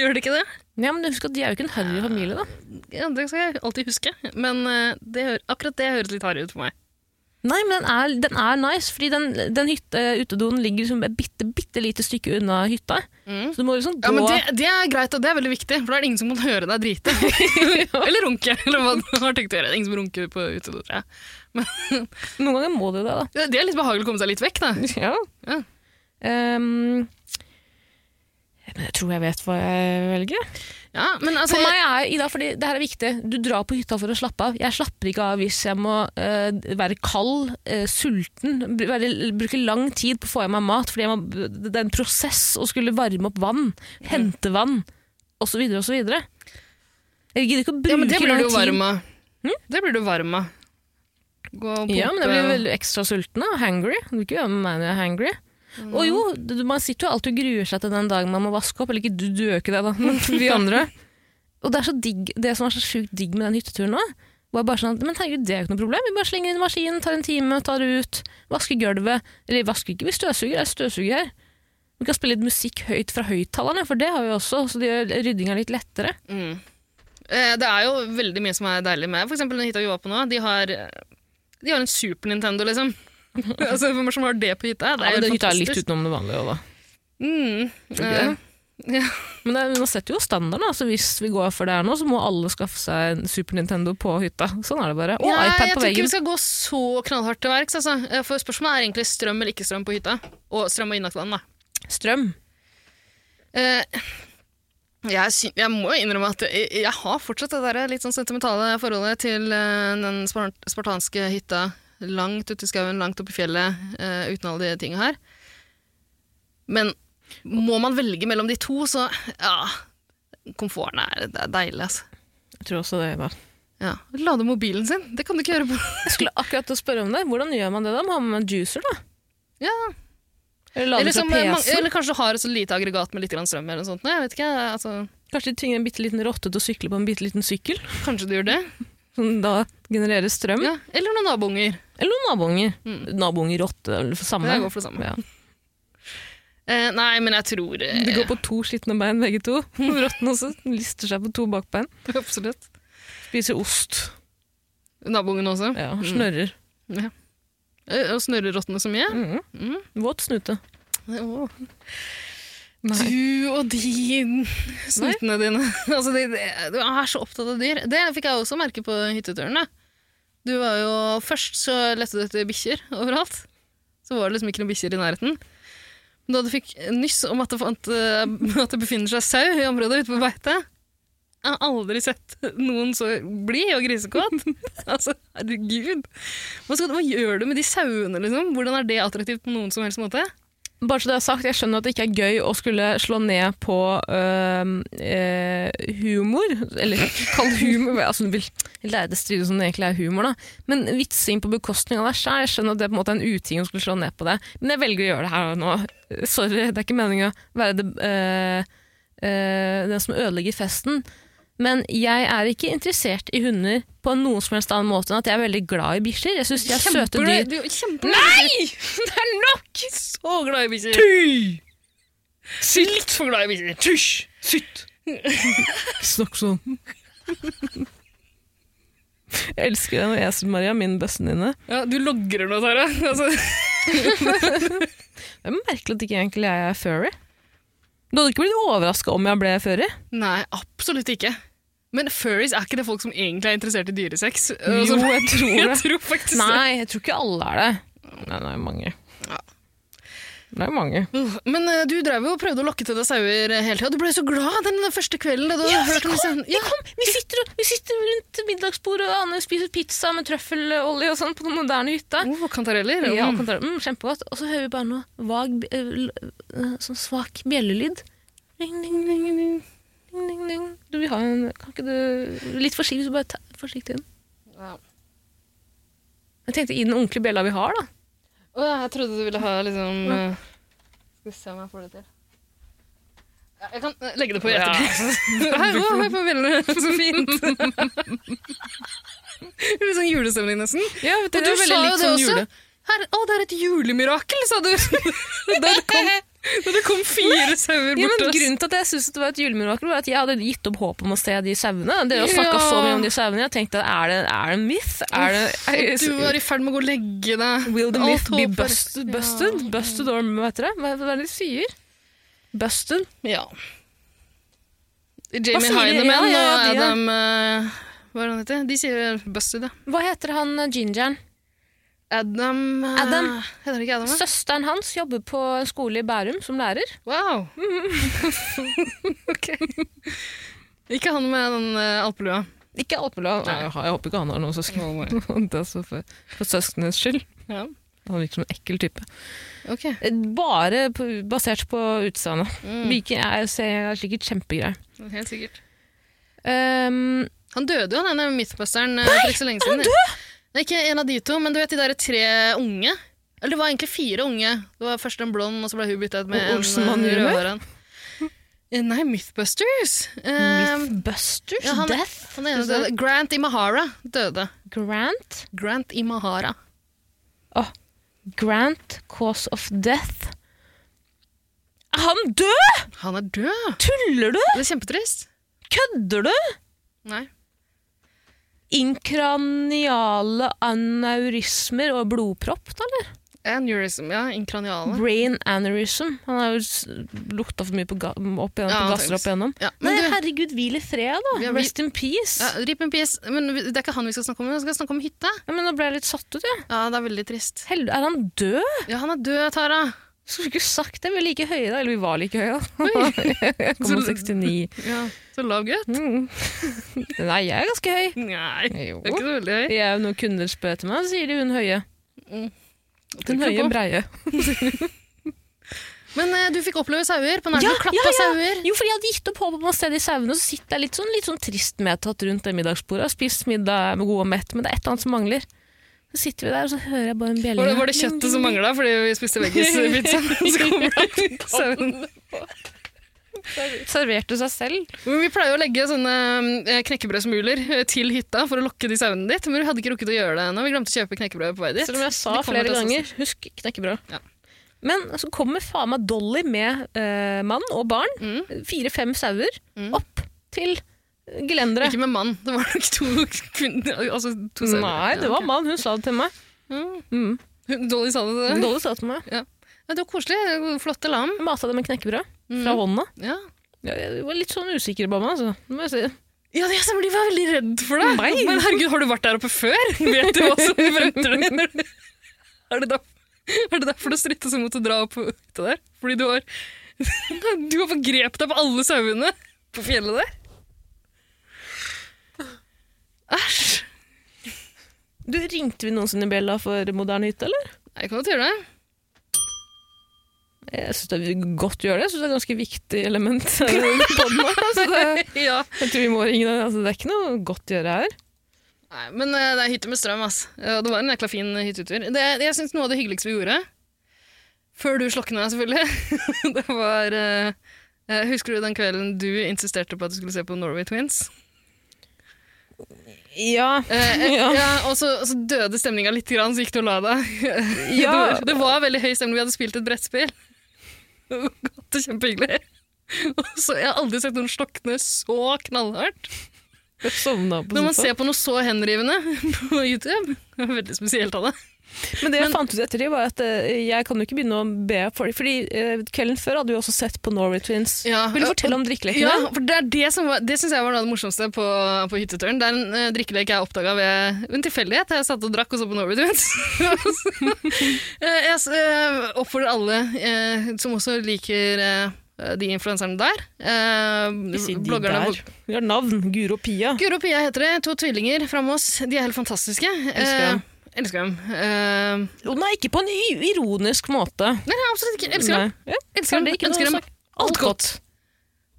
Speaker 2: Gjør det ikke det?
Speaker 1: Ja, men husk at de er jo ikke en harry familie, da.
Speaker 2: Ja, Det skal jeg alltid huske, men eh, det, hø- akkurat det høres litt harry ut for meg.
Speaker 1: Nei, men den er, den er nice, fordi den, den hytte, utedoen ligger liksom et bitte, bitte lite stykke unna hytta.
Speaker 2: Mm.
Speaker 1: Så du må liksom gå
Speaker 2: Ja, men det, det er greit, og det er veldig viktig, for da er det ingen som kan høre deg drite. eller runke, eller hva du har tenkt å gjøre. Ingen som runker på utedo, tror jeg.
Speaker 1: Noen ganger må du det, da.
Speaker 2: Ja, Det er litt behagelig å komme seg litt vekk, da.
Speaker 1: Ja.
Speaker 2: Ja.
Speaker 1: Ehm, men jeg tror jeg vet hva jeg velger.
Speaker 2: Ja, men altså,
Speaker 1: For meg er Ida, fordi det her er viktig. Du drar på hytta for å slappe av. Jeg slapper ikke av hvis jeg må eh, være kald, eh, sulten, br- være, bruke lang tid på å få i meg mat. Fordi jeg må, det er en prosess å skulle varme opp vann, hente vann, osv. osv. Jeg gidder ikke å bruke
Speaker 2: ja, men det blir
Speaker 1: lang
Speaker 2: du jo
Speaker 1: tid. Hm?
Speaker 2: varm av. Det blir du varm av. Gå og
Speaker 1: Ja, men jeg blir
Speaker 2: pumpe-
Speaker 1: veldig ekstra sulten og hangry. Du vil ikke gjøre med meg når jeg er hangry.
Speaker 2: Mm.
Speaker 1: Og jo, du- man sitter jo alltid og gruer seg til den dagen man må vaske opp. Eller ikke du, du gjør ikke det, da, men vi andre. Og det, er så digg, det som er så sjukt digg med den hytteturen nå, var bare sånn at men herregud, det er jo ikke noe problem. Vi bare slenger inn maskinen, tar en time, tar det ut, vasker gulvet. Eller vasker ikke, vi støvsuger. Det er støvsuger her. Vi kan spille litt musikk høyt fra høyttalerne, for det har vi også, så det gjør ryddinga litt lettere.
Speaker 2: Mm. Eh, Det er jo veldig mye som er deilig med For eksempel den hytta vi var på nå. De har, eh, de har en Super Nintendo, liksom. altså, Hvem er det som har det på hytta? Det
Speaker 1: Ja, men
Speaker 2: er jo
Speaker 1: den hytta er litt
Speaker 2: fantastisk.
Speaker 1: utenom det vanlige også, da.
Speaker 2: Mm.
Speaker 1: Tror
Speaker 2: eh, ja.
Speaker 1: Men det, man setter jo standarden. Altså hvis vi går for det her nå, så må alle skaffe seg en Super Nintendo på hytta. Sånn er det bare. Og
Speaker 2: Nei,
Speaker 1: iPad
Speaker 2: jeg
Speaker 1: på
Speaker 2: tror ikke
Speaker 1: veggen.
Speaker 2: vi skal gå så knallhardt til verks. Altså. Eh, For spørsmålet er egentlig strøm eller ikke strøm på hytta. Og strøm og innlagt vann, da.
Speaker 1: Strøm.
Speaker 2: Eh, jeg, sy jeg må jo innrømme at jeg, jeg har fortsatt det der litt sånn sentimentale forholdet til eh, den spar- spartanske hytta langt ute i skauen, langt oppe i fjellet, eh, uten alle de tinga her. Men må man velge mellom de to, så ja Komforten er, det er deilig, altså.
Speaker 1: Jeg tror også det. da.
Speaker 2: Ja. Lade mobilen sin, det kan du ikke gjøre på
Speaker 1: Jeg skulle akkurat til å spørre om det. Hvordan gjør man det? da? Må ha med en juicer, da?
Speaker 2: ja.
Speaker 1: Eller
Speaker 2: eller,
Speaker 1: lader
Speaker 2: som,
Speaker 1: til
Speaker 2: eh, man-
Speaker 1: PC-en?
Speaker 2: eller kanskje du har et så lite aggregat med litt grann strøm eller noe sånt. Nei, jeg vet ikke, altså,
Speaker 1: Kanskje de tvinger en bitte liten rotte til å sykle på en bitte liten sykkel,
Speaker 2: kanskje du gjør det?
Speaker 1: som da genererer strøm?
Speaker 2: Ja. Eller noen nabounger.
Speaker 1: Eller noen nabounger. Nabounger, rotte, eller for samme.
Speaker 2: Jeg går for det samme.
Speaker 1: Ja.
Speaker 2: Eh, nei, men jeg tror eh,
Speaker 1: De går på to slitne bein, begge to.
Speaker 2: Mm.
Speaker 1: Rotten også lister seg på to bakbein.
Speaker 2: Absolutt.
Speaker 1: Spiser ost.
Speaker 2: Naboungen også.
Speaker 1: Ja, Snørrer.
Speaker 2: Eh, Og snørrerottene så mye.
Speaker 1: Mhm.
Speaker 2: Mm.
Speaker 1: Våt snute.
Speaker 2: Åh.
Speaker 1: Nei.
Speaker 2: Du og de snutene dine. altså, de, de, du er så opptatt av dyr. Det fikk jeg også merke på hytteturen. da. Du var jo, først så lette du etter bikkjer overalt. Så var det liksom ikke noen bikkjer i nærheten. Men da du fikk nyss om at det, fant, eh, at det befinner seg sau i området ute på beite Jeg har aldri sett noen så blid og grisekåt. altså, herregud. Hva, skal, hva gjør du med de sauene, liksom? Hvordan er det attraktivt på noen som helst måte?
Speaker 1: Bare så det er sagt, jeg skjønner at det ikke er gøy å skulle slå ned på øhm, eh, humor, eller kall humor, altså du vil lære det strides som det egentlig er humor da, men vitsing på bekostning av deg selv, jeg skjønner at det er på en måte en uting å skulle slå ned på det, men jeg velger å gjøre det her nå. Sorry, det er ikke meningen å være det, eh, eh, den som ødelegger festen, men jeg er ikke interessert i hunder på noen som helst annen måte enn at jeg er veldig glad i bikkjer. Jeg synes de er søte
Speaker 2: Kjemper
Speaker 1: dyr.
Speaker 2: du- Du, kjemper Nei! Det er nok! Så glad i bikkjer. Litt for glad i bikkjer. Tusj!
Speaker 1: Sitt! Snakk sånn. Jeg elsker deg når Esel-Maria, min bestevenninne.
Speaker 2: Ja, du logrer nå, Tara. Altså,
Speaker 1: Det er merkelig at ikke egentlig jeg er furry. Du hadde ikke blitt overraska om jeg ble furry?
Speaker 2: nei, absolutt ikke. Men furries er ikke det folk som egentlig er interessert i dyresex? Altså,
Speaker 1: Jo, jeg tror det.
Speaker 2: Jeg tror faktisk det.
Speaker 1: Nei, jeg tror ikke alle er det. Nei, det er mange.
Speaker 2: Ja.
Speaker 1: Det er mange.
Speaker 2: Uh, Men eh, du drev jo og prøvde å lokke til deg sauer eh, hele tida. Du ble så glad den første kvelden. Da du
Speaker 1: Ja,
Speaker 2: hørte om disse-
Speaker 1: Vi, kom, vi, sitter, vi sitter rundt middagsbordet, og Anne spiser pizza med trøffelolje og sånn på den moderne hytta.
Speaker 2: Oh, kantareller.
Speaker 1: Ja,
Speaker 2: Mm.
Speaker 1: kontroll. mm, kjempegodt. Og så hører vi bare noe vag, b- eh, l- eh, sånn svak bjellelyd. Ding, ding, ding, ding. Ding, ding, ding. Du, vi har en, kan ikke du Litt forsiktig, så bare ta forsiktig inn.
Speaker 2: Ja.
Speaker 1: Jeg tenkte i den ordentlige bjella vi har, da.
Speaker 2: Å ja, jeg trodde du ville ha liksom eh, Skal vi se om jeg får det til. Ja, jeg kan eh, legge det på i ettertid. Hei, å, hei på bjellene. Så fint. Litt sånn julestemning, nesten.
Speaker 1: Ja,
Speaker 2: Og du sa jo det også. sånn Her, å, det er et julemirakel, sa du. Da det kom, da det kom fire sauer
Speaker 1: Ja,
Speaker 2: bort
Speaker 1: men
Speaker 2: til oss.
Speaker 1: grunnen til at jeg syntes det var et julemirakel, var at jeg hadde gitt opp håpet om å se de sauene. Dere har snakka
Speaker 2: Ja.
Speaker 1: så mye om de sauene. Jeg tenkte, er det, er det en myth? Er det, er,
Speaker 2: Du var i ferd med å gå og legge deg.
Speaker 1: will the myth
Speaker 2: Alt
Speaker 1: be
Speaker 2: håper-
Speaker 1: busted? Busted, busted or hva heter det? Hva hva er det de sier? Busted?
Speaker 2: Ja. Jamie
Speaker 1: sier de?
Speaker 2: Heinemann
Speaker 1: Ja, ja, ja,
Speaker 2: og
Speaker 1: de, ja.
Speaker 2: Adam eh, Hva er det han heter? De sier Busted, ja.
Speaker 1: Hva heter han eh, gingeren?
Speaker 2: Adam eh,
Speaker 1: Adam.
Speaker 2: Heter det ikke Adam? Ja?
Speaker 1: Søsteren hans jobber på en skole i Bærum som lærer.
Speaker 2: Wow! Ikke han med den eh, alpelua.
Speaker 1: Ikke alpelov. Jeg håper ikke han har noen søsken. Det er så for, for søsknenes skyld.
Speaker 2: Ja.
Speaker 1: Han virker som en ekkel type.
Speaker 2: Ok.
Speaker 1: Eh, Bare på, basert på utseendet. Viking er, ser- er sikkert kjempegreie.
Speaker 2: Helt sikkert.
Speaker 1: Um,
Speaker 2: Han døde jo, denne mythbusteren, eh, for ikke så lenge siden. Er han død? Nei, ikke en av de to, men du vet de der tre unge? Eller det var egentlig fire unge. Det var først en blond, og så ble hun byttet ut med
Speaker 1: Og Olsenmann
Speaker 2: en eh,
Speaker 1: Junior?
Speaker 2: rødhåren. Eh, Nei, Mythbusters. Eh,
Speaker 1: Mythbusters?
Speaker 2: ja, han-
Speaker 1: ehm, Death?
Speaker 2: han ene døde. Grant Imahara døde.
Speaker 1: Grant?
Speaker 2: Grant Imahara.
Speaker 1: Grant, cause of death. Er han død?!
Speaker 2: Han er død!
Speaker 1: Tuller du?!
Speaker 2: Det er kjempetrist.
Speaker 1: Kødder du?!
Speaker 2: Nei.
Speaker 1: Inkraniale aneurismer og blodpropp, da, eller?
Speaker 2: Aneurysm, ja. Inkraniale.
Speaker 1: Brain aneurysm. Han har jo lukta for mye på, ga opp igjennom,
Speaker 2: Ja,
Speaker 1: på gasser opp igjennom.
Speaker 2: Ja, men
Speaker 1: Nei,
Speaker 2: du-
Speaker 1: herregud, hvil i fred, da!
Speaker 2: Ja, vi-
Speaker 1: Rest in peace.
Speaker 2: Ja, Rip in peace. Men vi- det er ikke han vi skal snakke om, vi skal snakke om hytte.
Speaker 1: Ja, men Nå ble jeg litt satt ut, jeg.
Speaker 2: Ja, det er veldig trist.
Speaker 1: Hel- Er han død?
Speaker 2: Ja, han er død, Tara.
Speaker 1: Skulle ikke sagt det. Vi er like høye, da. Eller vi var like høye, da. 1,69.
Speaker 2: Ja, så lav gutt.
Speaker 1: Mm. Nei, jeg er ganske høy.
Speaker 2: Nei,
Speaker 1: Jo.
Speaker 2: det er ikke så veldig høy.
Speaker 1: Jeg, er jo når kunder spør etter meg, så sier de hun høye.
Speaker 2: Mm.
Speaker 1: Hun høye breie.
Speaker 2: Men eh, du fikk oppleve sauer på nært
Speaker 1: Ja,
Speaker 2: hold. Klapp
Speaker 1: ja,
Speaker 2: av
Speaker 1: ja.
Speaker 2: sauer.
Speaker 1: Jo, fordi jeg hadde gitt opp håpet om å se de sauene, så sitter jeg litt sånn, litt sånn trist medtatt rundt det middagsbordet. Har spist middag med god og mett, men det er et eller annet som mangler. Så sitter vi der, og så hører jeg bare en bjelle.
Speaker 2: Var det, var det kjøttet som mangla fordi vi spiste veggispizza? Så kommer det opp sauen.
Speaker 1: Serverte seg selv.
Speaker 2: Men Vi pleier å legge sånne eh, knekkebrødsmuler eh, til hytta for å lokke de sauene dit, men vi hadde ikke rukket å gjøre det ennå. Vi glemte å kjøpe knekkebrød på vei dit.
Speaker 1: Selv om jeg sa
Speaker 2: De kommer
Speaker 1: flere
Speaker 2: til oss
Speaker 1: ganger, husk knekkebrød.
Speaker 2: Ja.
Speaker 1: Men så kommer faen meg Dolly med eh, mann og barn,
Speaker 2: Mm.
Speaker 1: fire-fem sauer, opp til
Speaker 2: også.
Speaker 1: gelenderet.
Speaker 2: Ikke med mann. Det var nok to kvinner Altså to sauer.
Speaker 1: Nei, det var mann. Hun sa det til meg. Mm.
Speaker 2: mann. Dolly sa det til deg.
Speaker 1: Dolly sa det til meg.
Speaker 2: Ja. Ja, det var koselig. Flotte lam. Mm.
Speaker 1: Jeg mata det med knekkebrød fra hånda.
Speaker 2: Ja.
Speaker 1: Jeg- Jeg var litt sånn usikker på meg, altså. Det må jeg si.
Speaker 2: Ja, jeg stemmer, de var veldig redd for deg.
Speaker 1: Nei.
Speaker 2: Men herregud, har du vært der oppe før? Vet du hva som venter deg? når du- Er det, da, er det derfor du stritter så mot å dra opp hytta der? Fordi du har, du har forgrepet deg på alle sauene på fjellet der? Æsj.
Speaker 1: Du, Ringte vi noensinne bjella for moderne hytte, eller?
Speaker 2: Nei, Jeg kan godt gjøre det.
Speaker 1: Jeg syns det er godt å gjøre det. Jeg synes det er et ganske viktig element. i podden her, altså det,
Speaker 2: Ja.
Speaker 1: jeg tror vi må ringe den. Altså, det er ikke noe godt å gjøre her.
Speaker 2: Nei, men eh, det er hytte med strøm, ass. Ja, Det var en jækla fin hyttetur. Det, jeg synes noe av det hyggeligste vi gjorde, før du slokna selvfølgelig, det var... eh, eh, husker du den kvelden du insisterte på at du skulle se på Norway Twins?
Speaker 1: Ja.
Speaker 2: Eh, eh,
Speaker 1: Ja.
Speaker 2: ja. og så, og så døde stemninga litt, grann, så gikk du og la deg.
Speaker 1: Ja.
Speaker 2: Det, det var veldig høy stemning. Vi hadde spilt et brettspill. Det var Godt og kjempehyggelig. Og så, jeg har aldri sett noen slokne så knallhardt.
Speaker 1: Jeg sovna på
Speaker 2: Når man
Speaker 1: sofaen.
Speaker 2: ser på noe så henrivende på YouTube det var Veldig spesielt av det.
Speaker 1: Men det jeg fant ut etter det, var at eh, jeg kan jo ikke begynne å be folk Fordi eh, kvelden før hadde vi også sett på Norway Twins.
Speaker 2: Ja,
Speaker 1: Vil du
Speaker 2: og-
Speaker 1: fortelle om drikkeleken?
Speaker 2: Ja,
Speaker 1: din?
Speaker 2: for Det er det som var, det synes jeg var noe av det morsomste på, på hytteturen. Det er en eh, drikkelek jeg oppdaga ved ved en tilfeldighet. Jeg satt og drakk og så på Norway Twins. Eh, jeg eh, oppfordrer alle eh, som også liker eh, de influenserne der eh,
Speaker 1: Vi sier de
Speaker 2: bloggerne-
Speaker 1: der. Vi har navn. Guro og Pia.
Speaker 2: Guro og Pia heter det. To tvillinger fra Moss. De er helt fantastiske.
Speaker 1: Elsker dem.
Speaker 2: Eh, elsker dem. Eh,
Speaker 1: Jo, nei, ikke på en i- ironisk måte.
Speaker 2: nei, nei, absolutt ikke. Elsker dem.
Speaker 1: Nei. Ja,
Speaker 2: Elsker
Speaker 1: det er
Speaker 2: dem.
Speaker 1: ikke noe
Speaker 2: Ønsker dem
Speaker 1: sak.
Speaker 2: alt godt.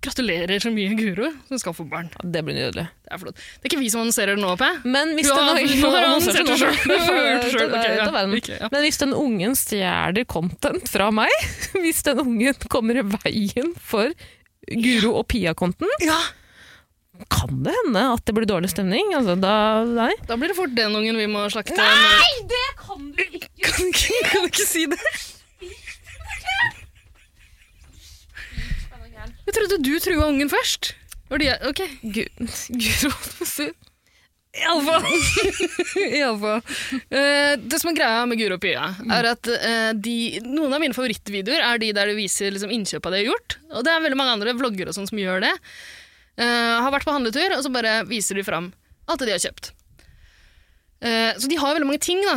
Speaker 2: Gratulerer så mye, Guro, som skal få barn.
Speaker 1: Ja, det blir nydelig.
Speaker 2: Det er flott. Det er ikke vi som annonserer det nå, håper jeg.
Speaker 1: Men hvis
Speaker 2: Du
Speaker 1: den
Speaker 2: har- du har annonsert det selv. Du får høre det selv. Ok, ja. Ok, ja.
Speaker 1: Men hvis den ungen stjeler content fra meg, hvis den ungen kommer i veien for Guro og Pia-konten,
Speaker 2: Ja,
Speaker 1: kan det hende at det blir dårlig stemning. Altså, da, nei.
Speaker 2: Da blir det fort den ungen vi må slakte. Nei!
Speaker 1: det kan du ikke
Speaker 2: Kan du ikke, kan du ikke si det? Jeg trodde du trua ungen først. Var det jeg? Ok. Guro Iallfall. Iallfall. Uh, det som er greia med Guro og Pia, er at eh, de, noen av mine favorittvideoer er de der du viser liksom, innkjøp av det jeg har gjort. Og det er veldig mange andre vloggere og sånn som gjør det. Eh, har vært på handletur, og så bare viser de fram alt det de har kjøpt. Eh, så de har veldig mange ting, da.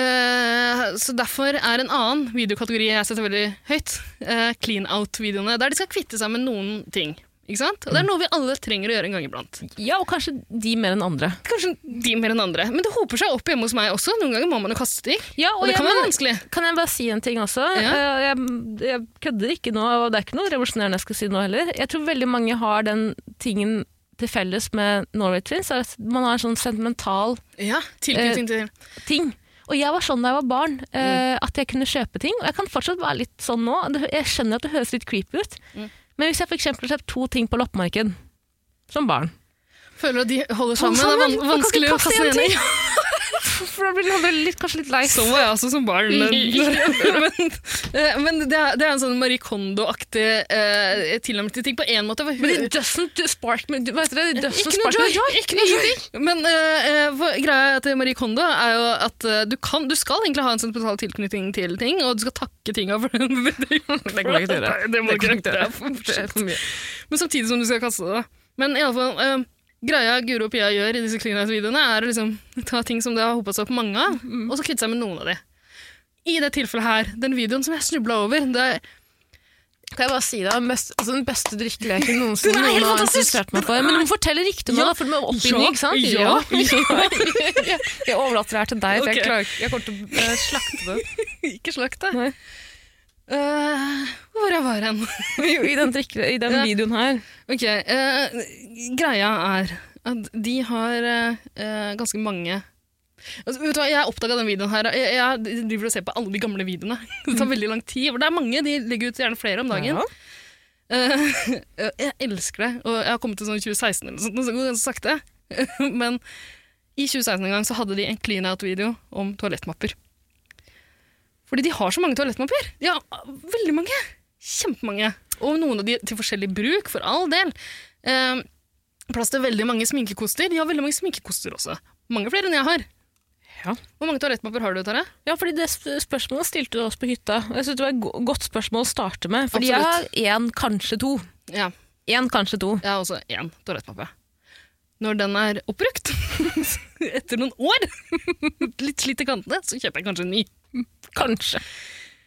Speaker 2: Eh, så derfor er en annen videokategori jeg setter veldig høyt, eh, clean out-videoene, der de skal kvitte seg med noen ting. Ikke sant? Og det er noe vi alle trenger å gjøre en gang iblant.
Speaker 1: Ja, og kanskje de mer enn andre.
Speaker 2: Kanskje de mer enn andre, men det hoper seg opp hjemme hos meg også. Noen ganger må man jo kaste ting,
Speaker 1: Ja,
Speaker 2: og det
Speaker 1: jeg-
Speaker 2: kan være
Speaker 1: men-
Speaker 2: vanskelig.
Speaker 1: Kan jeg bare si en ting også?
Speaker 2: Ja.
Speaker 1: Eh, Jeg, jeg kødder ikke nå, og det er ikke noe revolusjonerende jeg skal si nå heller. Jeg tror veldig mange har den tingen til felles med Norway Twins, er at man har en sånn sentimental
Speaker 2: Ja, tilknytning til
Speaker 1: ting. Og jeg var sånn da jeg var barn, eh, at jeg kunne kjøpe ting. Og jeg kan fortsatt være litt sånn nå. Det- Jeg skjønner at det høres litt creepy ut. Men hvis jeg for eksempel kjøpte to ting på loppemarked, som barn
Speaker 2: Føler at de holder
Speaker 1: Hold
Speaker 2: sammen.
Speaker 1: sammen,
Speaker 2: det er
Speaker 1: man kan
Speaker 2: van
Speaker 1: ikke
Speaker 2: vanskelig å
Speaker 1: kaste
Speaker 2: kaste
Speaker 1: en
Speaker 2: igjen i.
Speaker 1: For da blir man litt, kanskje litt lei.
Speaker 2: Sånn var jeg også som barn. Men, men, eh, men det, er, det er en sånn Marie Kondo-aktig eh, tilnærming til ting på én måte. For
Speaker 1: Men
Speaker 2: hun-
Speaker 1: it doesn't spark me, vet dere, it doesn't
Speaker 2: Ikke noe
Speaker 1: spark me
Speaker 2: joy, ikke noe joy. Men eh, eh, for, greia til Marie Kondo er jo at eh, du, kan, du skal egentlig ha en sentimental tilknytning til ting, og du skal takke tinga for den. det,
Speaker 1: Det kommer du ikke til å gjøre.
Speaker 2: Nei, det må
Speaker 1: Det kommer du
Speaker 2: du ikke
Speaker 1: ikke
Speaker 2: gjøre. Det er for mye. Men samtidig som du skal kaste det. da. Men i alle fall, eh, greia Guro og Pia gjør i disse Clean Out-videoene, er å liksom ta ting som det har hopa seg opp mange av, og så kvitte seg med noen av de. I det tilfellet her, den videoen som jeg snubla over det er,
Speaker 1: Kan jeg bare si det? Den beste, altså den beste drikkeleken noensinne
Speaker 2: Den er helt
Speaker 1: noen har
Speaker 2: fantastisk!
Speaker 1: interessert meg for. Men du må fortelle riktig nå,
Speaker 2: Ja.
Speaker 1: da, for du må oppbygge, ikke sant?
Speaker 2: Ja,
Speaker 1: Ja. Jeg overlater det her til deg, for
Speaker 2: Ok.
Speaker 1: jeg, klarer, ikke- jeg kommer til å eh, slakte det.
Speaker 2: Ikke slakt, da.
Speaker 1: Nei.
Speaker 2: Eh, hvor var jeg var hen?
Speaker 1: Jo, I den, drikke, i den
Speaker 2: Ja.
Speaker 1: videoen her.
Speaker 2: Ok, eh, greia er at de har eh, eh, ganske mange altså, Vet du hva, jeg oppdaga den videoen her. Jeg, jeg driver og ser på alle de gamle videoene. Det tar veldig lang tid. For det er mange, de legger ut gjerne flere om dagen.
Speaker 1: Ja.
Speaker 2: Eh, jeg elsker det. Og jeg har kommet til sånn 2016 eller noe sånt, så det går ganske sakte. Men i 2016 en gang så hadde de en clean out-video om toalettmapper. Fordi de har så mange toalettmapper. De har eh, veldig mange. Kjempemange. Og noen av de til forskjellig bruk, for all del. Eh, plass til veldig mange sminkekoster. De har veldig mange sminkekoster også. Mange flere enn jeg har.
Speaker 1: Ja.
Speaker 2: Hvor mange toalettmapper har du, Tare?
Speaker 1: Ja, fordi det sp- spørsmålet stilte du oss på hytta. Jeg synes det var et go- godt spørsmål å starte med. Fordi
Speaker 2: Absolutt.
Speaker 1: jeg har én, kanskje to.
Speaker 2: Ja,
Speaker 1: Én, kanskje to.
Speaker 2: Jeg har også én toalettmappe. altså, Når den er oppbrukt, etter noen år, litt slitt i kantene, så kjøper jeg kanskje en ny.
Speaker 1: Kanskje.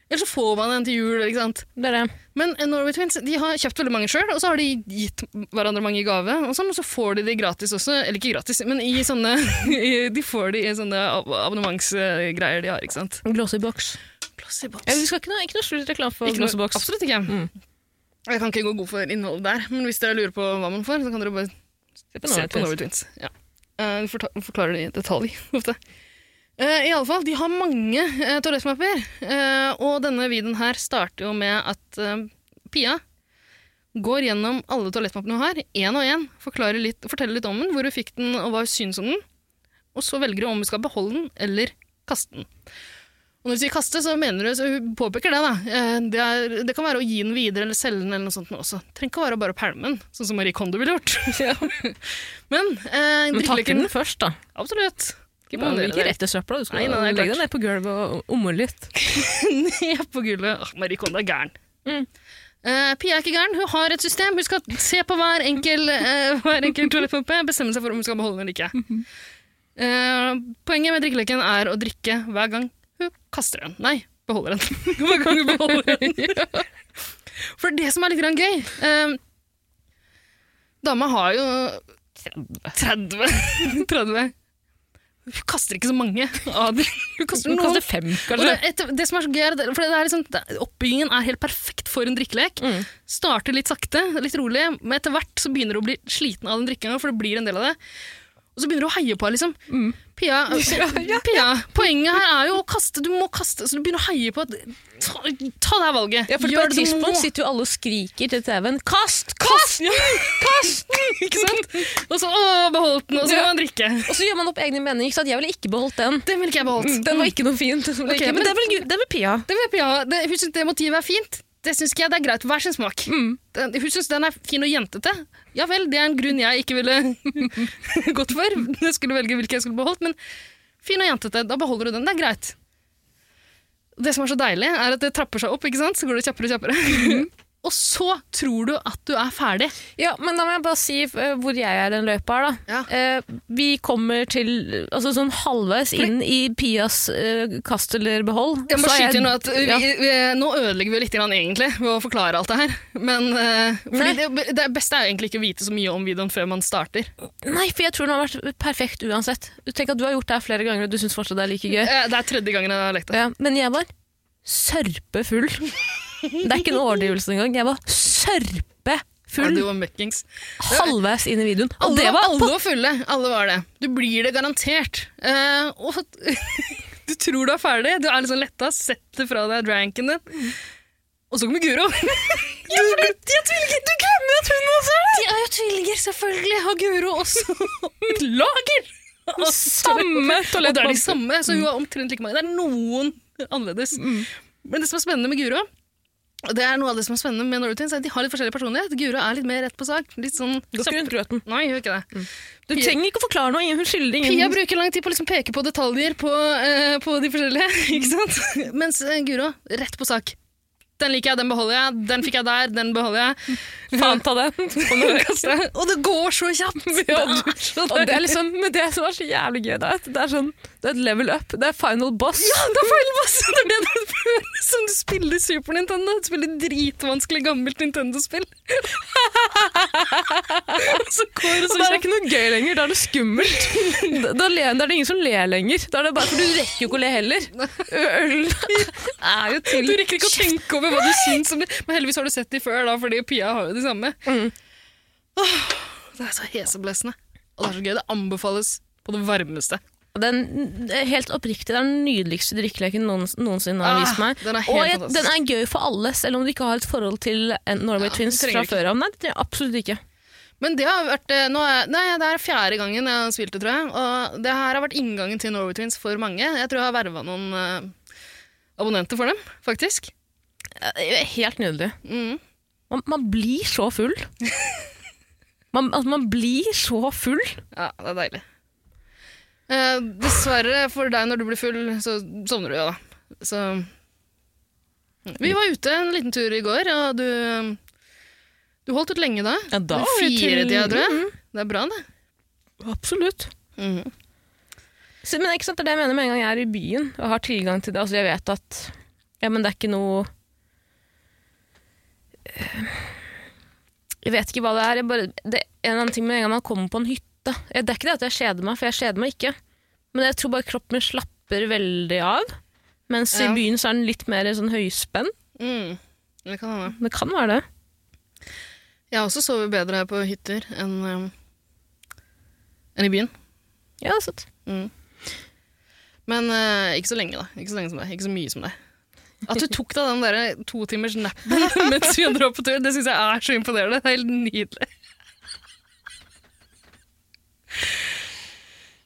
Speaker 2: Eller så får man en til jul. ikke sant?
Speaker 1: Det er det.
Speaker 2: Men Norway Twins de har kjøpt veldig mange sjøl, og så har de gitt hverandre mange i gave. Og sånn, og så får de de gratis også. Eller ikke gratis, men i sånne, i- de får de i sånne ab abonnementsgreier de har. ikke sant?
Speaker 1: Glossy box. Ja, vi skal ikke noe, ikke noe skjult reklame for
Speaker 2: Ikke
Speaker 1: glossy
Speaker 2: noe,
Speaker 1: box.
Speaker 2: absolutt ikke.
Speaker 1: Mm.
Speaker 2: Jeg kan ikke gå god for innholdet der, men hvis dere lurer på hva man får, så kan dere bare
Speaker 1: Se på
Speaker 2: Se
Speaker 1: Norway
Speaker 2: på Norway
Speaker 1: Twins.
Speaker 2: Twins. Ja. Eh, vi forta- forklarer det i detalj ofte. Eh, I alle fall, De har mange uh, toalettmapper, eh, og denne videoen her starter jo med at eh, Pia går gjennom alle toalettmappene hun har, én og én, forklarer litt, forteller litt om den, hvor hun fikk den, og hva hun syns om den, og så velger hun om hun skal beholde den eller kaste den. Og når hun sier kaste, så mener hun, så hun påpeker det. da. Eh, Det, er, det kan være å gi den videre eller selge den. eller noe sånt nå også. Trenger ikke å være bare å pælme den, sånn som Marie Kondo ville gjort. Men eh,
Speaker 1: Men takk
Speaker 2: drikkeleken
Speaker 1: den først, da.
Speaker 2: Absolutt.
Speaker 1: Ikke bare
Speaker 2: Må
Speaker 1: ikke
Speaker 2: dere
Speaker 1: rett i søpla. Du skal
Speaker 2: Nei, nei, nei,
Speaker 1: legge
Speaker 2: klart.
Speaker 1: deg ned på gulvet og omle litt.
Speaker 2: ned på gulvet. Åh, Marie Kondo er gæren.
Speaker 1: Mm.
Speaker 2: Eh, Pia er ikke gæren, hun har et system. Hun skal se på hver enkel, eh, hver enkel toalettpumpe, bestemme seg for om hun skal beholde den eller ikke. Eh, poenget med drikkeleken er å drikke hver gang hun kaster den. Nei, beholder den. hver gang hun beholder den. For det som er litt grann gøy eh, Dama har jo 30. 30. Hun kaster ikke så mange av dem. Hun kaster
Speaker 1: Hun
Speaker 2: noen
Speaker 1: kaster fem,
Speaker 2: og
Speaker 1: kanskje.
Speaker 2: det, etter, det som er så gøy, er at- for det er liksom, det- oppbyggingen er helt perfekt for en drikkelek.
Speaker 1: Mm.
Speaker 2: Starter litt sakte, litt rolig, men etter hvert så begynner du å bli sliten av den drikkinga, for det blir en del av det. Og så begynner du å heie på henne, liksom.
Speaker 1: Mm.
Speaker 2: Pia, Pia, poenget her er jo å kaste. Du må kaste, så du begynner å heie på at Ta, ta det her valget.
Speaker 1: Ja, for på et
Speaker 2: Gjør det du må.
Speaker 1: tidspunkt sitter jo alle og skriker til TV-en 'kast, kast, kast!'
Speaker 2: Ikke sant? Og så å, beholdt den, og så må man drikke.
Speaker 1: Og så gjør man opp egne meninger. Ikke sant? Jeg ville ikke beholdt den.
Speaker 2: Den ville ikke jeg beholdt.
Speaker 1: Mm, Den var ikke noe fint.
Speaker 2: Mm. Ok,
Speaker 1: men
Speaker 2: men-
Speaker 1: det er vel, gu- det er vel Pia.
Speaker 2: Det vil Pia ha. Det, hun syns det motivet er fint. Det syns ikke jeg. Det er greit. Hver sin smak.
Speaker 1: Mm.
Speaker 2: Den, hun syns den er fin og jentete. Ja vel, det er en grunn jeg ikke ville gått for. Jeg skulle velge hvilken jeg skulle beholdt, men fin og jentete. Da beholder du den. Det er greit. Det som er så deilig, er at det trapper seg opp, ikke sant? så går det kjappere og kjappere.
Speaker 1: Mm.
Speaker 2: og så tror du at du er ferdig.
Speaker 1: Ja, men da må jeg bare si eh, hvor jeg er i den løypa her, da.
Speaker 2: Ja.
Speaker 1: Eh, vi kommer til eh, altså sånn halvveis inn i Pias eh, kast eller behold.
Speaker 2: Jeg må
Speaker 1: så er
Speaker 2: skyte inn nå at vi,
Speaker 1: Ja.
Speaker 2: vi, Nå ødelegger vi litt grann egentlig ved å forklare alt det her. Men eh,
Speaker 1: Nei.
Speaker 2: fordi det, det beste er jo egentlig ikke å vite så mye om videoen før man starter.
Speaker 1: Nei, for jeg tror den har vært perfekt uansett. Du tenker at du har gjort det her flere ganger, og du syns fortsatt det er like gøy.
Speaker 2: Eh, Det er tredje gangen jeg har lekt det.
Speaker 1: Ja, men jeg var sørpefull. Det er ikke en overdrivelse engang. Jeg var
Speaker 2: Ja,
Speaker 1: sørpefull
Speaker 2: du var møkkings.
Speaker 1: halvveis inn i videoen. Og
Speaker 2: Alle,
Speaker 1: det
Speaker 2: var,
Speaker 1: var
Speaker 2: alle
Speaker 1: på
Speaker 2: var fulle. Alle var det. Du blir det garantert. Eh, og du tror du er ferdig. Du er litt sånn letta. Setter fra deg dranken din. Og så kommer Guro. ja, for det, jeg tvillinger, du glemmer at hun også er det! De er jo tvillinger, selvfølgelig. Og Guro også lager. Og
Speaker 1: samme
Speaker 2: Og det er de
Speaker 1: toalettpapir.
Speaker 2: samme, så hun har omtrent like mange. Det er noen annerledes.
Speaker 1: Mm.
Speaker 2: Men det som er spennende med Guro, og det er noe av det som er spennende med Norwegian, er at de har litt forskjellig personlighet. Guro er litt mer rett på sak. Litt sånn
Speaker 1: Går ikke Mm. rundt grøten.
Speaker 2: Nei, hun gjør ikke det.
Speaker 1: Du trenger ikke å forklare noe. Hun skylder
Speaker 2: Pia
Speaker 1: ingen
Speaker 2: bruker lang tid på å liksom peke på detaljer på, eh, på de forskjellige, ikke sant? Mens eh, Guro, rett på sak. Den liker jeg, den beholder jeg, den fikk jeg der, den beholder jeg.
Speaker 1: faen ta den.
Speaker 2: Kaster jeg. Og det går så kjapt!
Speaker 1: Ja,
Speaker 2: Det er så
Speaker 1: Og det er
Speaker 2: deilig.
Speaker 1: liksom, men det som er så jævlig gøy, det er at det er, sånn, det er et level up. Det er final boss.
Speaker 2: Ja, det er feil masse! Det er det du føler som du spiller Super Nintendo. Du spiller dritvanskelig gammelt Nintendo-spill. Og så går det
Speaker 1: Og da
Speaker 2: så
Speaker 1: er det
Speaker 2: kjapt.
Speaker 1: ikke noe gøy lenger. Da er det skummelt. Liksom. Da, da, le, da er det ingen som ler lenger. Da er det bare, For du rekker jo ikke å le heller. Ø- Øl er jo til
Speaker 2: Du rekker ikke å tenke over hva du syns om det. Men heldigvis har du sett de før, da, fordi Pia har jo de samme.
Speaker 1: Mm.
Speaker 2: Åh, det er så heseblesende. Og det er så gøy. Det anbefales på det varmeste.
Speaker 1: Den, helt oppriktig, det er den nydeligste drikkeleken noens, noensinne har
Speaker 2: Ah,
Speaker 1: vist meg.
Speaker 2: den er helt
Speaker 1: og jeg,
Speaker 2: fantastisk.
Speaker 1: den er gøy for alle, selv om du ikke har et forhold til en Norway
Speaker 2: Ja,
Speaker 1: Twins fra
Speaker 2: det trenger du ikke.
Speaker 1: før av. Nei, det trenger jeg absolutt ikke.
Speaker 2: Men det har vært eh, nå er, Nei, det er fjerde gangen jeg har spilt det, tror jeg. Og det her har vært inngangen til Norway Twins for mange. Jeg tror jeg har verva noen eh, abonnenter for dem, faktisk.
Speaker 1: Eh, Helt nydelig.
Speaker 2: Mm.
Speaker 1: Man, man blir så full. Man, altså, man blir så full.
Speaker 2: Ja, det er deilig. Eh, dessverre for deg, når du blir full, så sovner du jo, da. Så mm. Vi var ute en liten tur i går, og du eh, Du holdt ut lenge da.
Speaker 1: Ja, da var det til-
Speaker 2: Fire tida, tror jeg. Det er bra, det. Mm.
Speaker 1: Absolutt. Så, men ikke sant, det er det jeg mener med en gang jeg er i byen og har tilgang til det. Altså, jeg vet at ja, men det er ikke noe eh, Jeg vet ikke hva det er. Jeg bare, det er en eller annen ting med en gang man kommer på en hytte Jeg- Det er ikke det at jeg kjeder meg, for jeg kjeder meg ikke. Men jeg tror bare kroppen min slapper veldig av. Mens
Speaker 2: Ja.
Speaker 1: i byen så er den litt mer sånn høyspenn.
Speaker 2: Mm. Det kan hende.
Speaker 1: Det kan være det.
Speaker 2: Jeg har også sovet bedre her på hytter enn eh, enn i byen.
Speaker 1: Ja, det er sant.
Speaker 2: Mm. Men eh, ikke så lenge, da. Ikke så lenge som deg. Ikke så mye som deg. At du tok deg den der to timers nappen mens vi dro på tur, det syns jeg er så imponerende. Det er helt nydelig.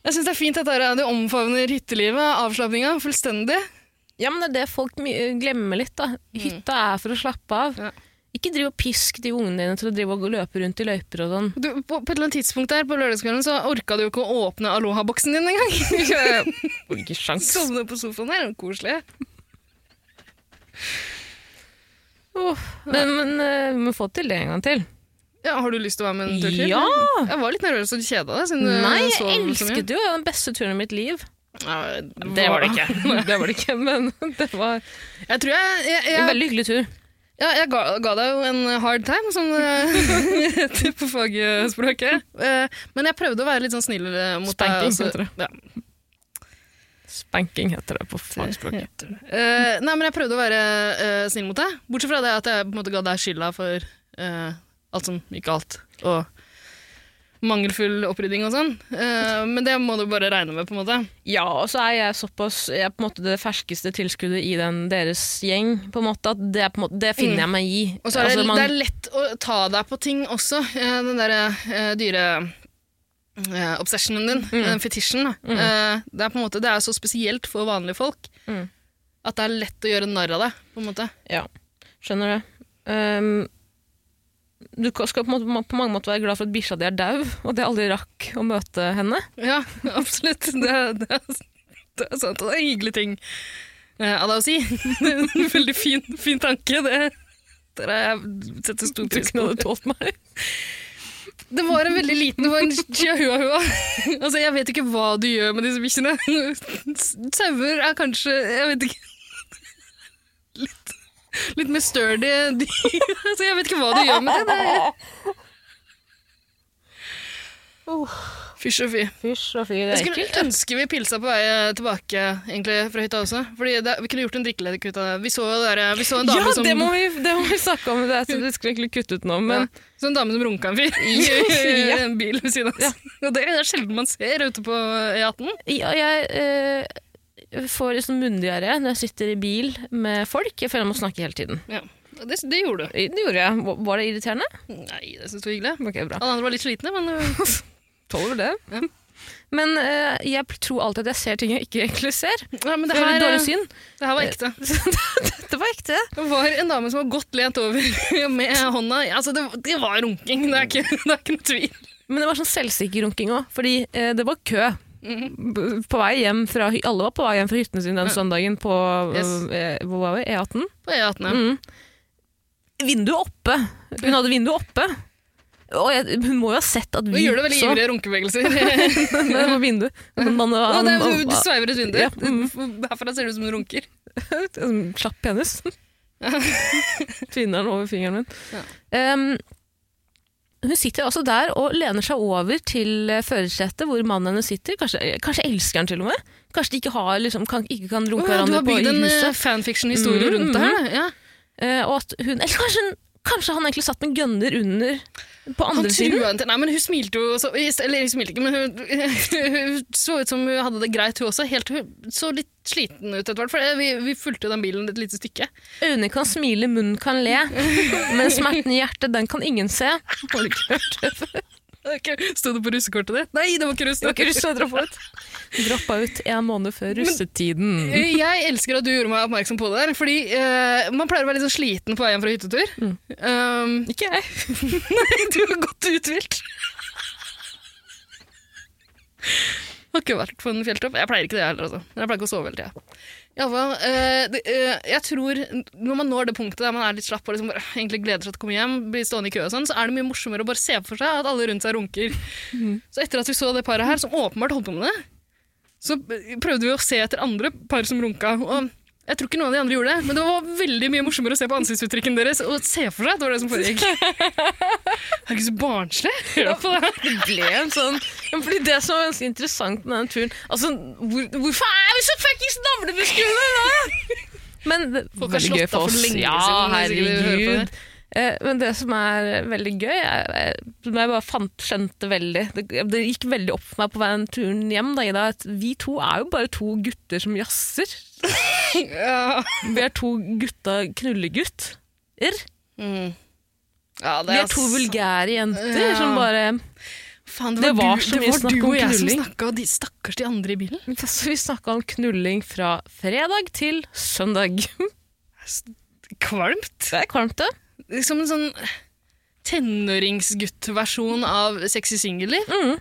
Speaker 2: Jeg syns det er fint at dere- du omfavner hyttelivet, avslapninga, fullstendig.
Speaker 1: Ja, men det er det folk my- glemmer litt. da. Hytta er for å slappe av.
Speaker 2: Ja.
Speaker 1: Ikke driv og pisk de ungene dine til å drive og løpe rundt i løyper og sånn.
Speaker 2: Du, på, på et eller annet tidspunkt der på lørdagskvelden så orka du jo ikke å åpne Aloha-boksen din engang.
Speaker 1: Ikke sjans.
Speaker 2: Sovne på sofaen der, koselig.
Speaker 1: Men, men eh, vi må få til det en gang til.
Speaker 2: Ja, har du lyst til å være med en tur til?
Speaker 1: Ja!
Speaker 2: Jeg var litt nervøs og kjeda deg. Siden
Speaker 1: Nei,
Speaker 2: du
Speaker 1: jeg
Speaker 2: sov så mye.
Speaker 1: elsket det jo. Det var den beste turen i mitt liv.
Speaker 2: Ja,
Speaker 1: det var det ikke, men det var
Speaker 2: Jeg tror jeg Jeg,
Speaker 1: en
Speaker 2: jeg,
Speaker 1: veldig hyggelig tur.
Speaker 2: ja, jeg ga, ga deg jo en hard time, som det heter på fagspråket. Eh, Men jeg prøvde å være litt sånn snill eh, mot
Speaker 1: Spanking,
Speaker 2: deg.
Speaker 1: heter det.
Speaker 2: Ja,
Speaker 1: Spanking heter det på fagspråket.
Speaker 2: heter det. Eh, nei, men jeg prøvde å være eh, snill mot deg, bortsett fra det at jeg på en måte ga deg skylda for eh, alt som gikk galt. Og mangelfull opprydding og sånn. Eh, men det må du bare regne med, på en måte.
Speaker 1: Ja, og så er jeg såpass jeg er på en måte det ferskeste tilskuddet i den deres gjeng. på en måte, at Det, er på en måte, det finner jeg meg i.
Speaker 2: Mm. Og så er det,
Speaker 1: Altså, man-
Speaker 2: det er lett å ta deg på ting også. Eh, Den derre eh, dyre eh, obsessionen din,
Speaker 1: Mm.
Speaker 2: den fetisjen. da. Eh, det er på en måte, det er så spesielt for vanlige folk
Speaker 1: Mm.
Speaker 2: at det er lett å gjøre narr av det. på en måte.
Speaker 1: Ja, skjønner det. Ehm, du ka- skal på, en måte, på mange måter være glad for at bikkja di er dau, og at jeg aldri rakk å møte henne.
Speaker 2: Ja, absolutt. Det, det, er, det er sant, og det er en hyggelig ting eh, av deg å si. Det er en veldig fin, fin tanke. Det, der har jeg setter stor
Speaker 1: Du
Speaker 2: pris
Speaker 1: kunne
Speaker 2: på.
Speaker 1: hadde tålt meg.
Speaker 2: Det var en veldig liten, det var en chihuahua. altså, jeg vet ikke hva du gjør med disse bikkjene. Sauer er kanskje, jeg vet ikke, litt, litt mer sturdy dyr. altså, jeg vet ikke hva du gjør med det. det. er- Fysj og fy.
Speaker 1: Fysj og fy, det
Speaker 2: Jeg skulle ønske vi pilsa på vei tilbake egentlig, fra hytta også. Fordi det, Vi kunne gjort en drikkelek ut av det. Vi så, jo det der, vi så en dame
Speaker 1: Ja,
Speaker 2: som
Speaker 1: det må, vi, det må vi snakke om. Det, er- det skulle vi egentlig kutte ut nå, men
Speaker 2: ja, så en dame som runka en fyr i,
Speaker 1: Ja.
Speaker 2: en bil ved siden av oss. Og det er sjelden man ser ute på E18.
Speaker 1: ja, jeg eh, får liksom munndiaré når jeg sitter i bil med folk. Jeg føler jeg må snakke hele tiden.
Speaker 2: Ja. og Det, det gjorde du.
Speaker 1: Det gjorde jeg. Var det irriterende?
Speaker 2: Nei, det syns du var hyggelig.
Speaker 1: Ok, bra.
Speaker 2: Alle andre var litt slitne, men øh,
Speaker 1: Tåler det. Men eh, jeg p- tror alltid at jeg ser ting jeg ikke egentlig ser.
Speaker 2: ja, men det,
Speaker 1: Det er
Speaker 2: her,
Speaker 1: litt dårlig
Speaker 2: øh,
Speaker 1: syn.
Speaker 2: det her var ekte.
Speaker 1: Dette var ekte.
Speaker 2: Det var en dame som var godt lent over med hånda. Altså, det, det var runking, det er ikke, det er ikke noe tvil.
Speaker 1: Men det var sånn selvsikker runking òg, fordi eh, det var kø.
Speaker 2: Mm.
Speaker 1: B- På vei hjem fra, hy- alle var på vei hjem fra hyttene sine den søndagen på
Speaker 2: Yes.
Speaker 1: eh, hvor var vi? E18.
Speaker 2: På E18,
Speaker 1: Mm.
Speaker 2: ja.
Speaker 1: Vinduet oppe! Hun hadde vinduet oppe. Og jeg, hun må jo ha sett at
Speaker 2: Nå
Speaker 1: vi
Speaker 2: gjør du veldig
Speaker 1: så-
Speaker 2: ivrige runkebevegelser.
Speaker 1: Nei, det var vinduet. Men man-
Speaker 2: Å, det er,
Speaker 1: han-
Speaker 2: du, du sveiver et vindu.
Speaker 1: Ja. Mm.
Speaker 2: Herfra ser det ut som du runker.
Speaker 1: En slapp penis. Tvinneren over fingeren min. Em, hun sitter altså der og lener seg over til eh, førersetet hvor mannen hennes sitter. Kanskje, kanskje elsker han til og med. Kanskje de ikke, har, liksom, kan, ikke kan runke
Speaker 2: du
Speaker 1: hverandre
Speaker 2: har
Speaker 1: på
Speaker 2: bygd
Speaker 1: i
Speaker 2: en
Speaker 1: huset.
Speaker 2: eh, fanfiction-historie
Speaker 1: Mm,
Speaker 2: rundt det her. da. Ja.
Speaker 1: Eh, og at hun, eller kanskje, hun, kanskje han egentlig satt med gønner under på
Speaker 2: Han
Speaker 1: andre siden.
Speaker 2: trua henne til Nei, men hun smilte jo så, Eller hun smilte ikke, men hun, hun så ut som hun hadde det greit, hun også. Helt, hun så litt sliten ut etter hvert, for eh, vi, vi fulgte jo den bilen et lite stykke.
Speaker 1: Øyne kan smile, munnen kan le. Men smerten i hjertet, den kan ingen se. Har du ikke hørt det før?
Speaker 2: Okay. Sto det på russekortet ditt? Nei, det var ikke russ.
Speaker 1: Det var ikke russ jeg droppa ut. Droppa ut en måned før russetiden.
Speaker 2: Eh, Jeg elsker at du gjorde meg oppmerksom på det der, fordi eh, man pleier å være litt sånn sliten på vei hjem fra hyttetur.
Speaker 1: Mm.
Speaker 2: Um,
Speaker 1: Ikke jeg.
Speaker 2: Nei, du er godt uthvilt. Har ikke vært på en fjelltopp. Jeg pleier ikke det heller, altså. Jeg pleier ikke å sove hele tida. I alle fall, eh, det, eh, jeg tror Når man når det punktet der man er litt slapp og liksom bare, egentlig gleder seg til å komme hjem, blir stående i kø og sånn, så er det mye morsommere å bare se for seg at alle rundt seg runker. Så etter at vi så det paret her, som åpenbart holdt på med det, så prøvde vi å se etter andre par som runka. og jeg tror ikke noen av de andre gjorde det, men det var veldig mye morsommere å se på ansiktsuttrykken deres og se for seg at det var det som foregikk. Herregud, så barnslig. Hør på det.
Speaker 1: Det ble en sånn ja, Fordi det som var ganske interessant med den turen Altså, hvor, hvorfor er vi så fuckings navlebeskuende i dag? Men det
Speaker 2: Folk
Speaker 1: var
Speaker 2: har
Speaker 1: veldig
Speaker 2: slått
Speaker 1: gøy
Speaker 2: av
Speaker 1: for
Speaker 2: for
Speaker 1: oss.
Speaker 2: lenge
Speaker 1: ja,
Speaker 2: siden, hvis ikke vi hører på
Speaker 1: herregud. Eh, Men det som er veldig gøy, er, er- som jeg bare fant, skjønte veldig det, det gikk veldig opp for meg på veien turen hjem, da, Ida, at vi to er jo bare to gutter som jazzer.
Speaker 2: Ja,
Speaker 1: Vi er to gutta knullegutter.
Speaker 2: Mm.
Speaker 1: Vi er to vulgære jenter
Speaker 2: Ja.
Speaker 1: som bare
Speaker 2: Faen, det,
Speaker 1: Det
Speaker 2: var
Speaker 1: var
Speaker 2: du,
Speaker 1: så
Speaker 2: det
Speaker 1: mye
Speaker 2: var
Speaker 1: snakk
Speaker 2: du
Speaker 1: om
Speaker 2: og jeg som
Speaker 1: knulling.
Speaker 2: snakka, og de stakkars de andre i bilen.
Speaker 1: Altså, vi snakka om knulling fra fredag til søndag.
Speaker 2: Kvalmt.
Speaker 1: Det er kvalmt, det.
Speaker 2: Som en sånn tenåringsgutt-versjon av sexy singelliv.
Speaker 1: Mm.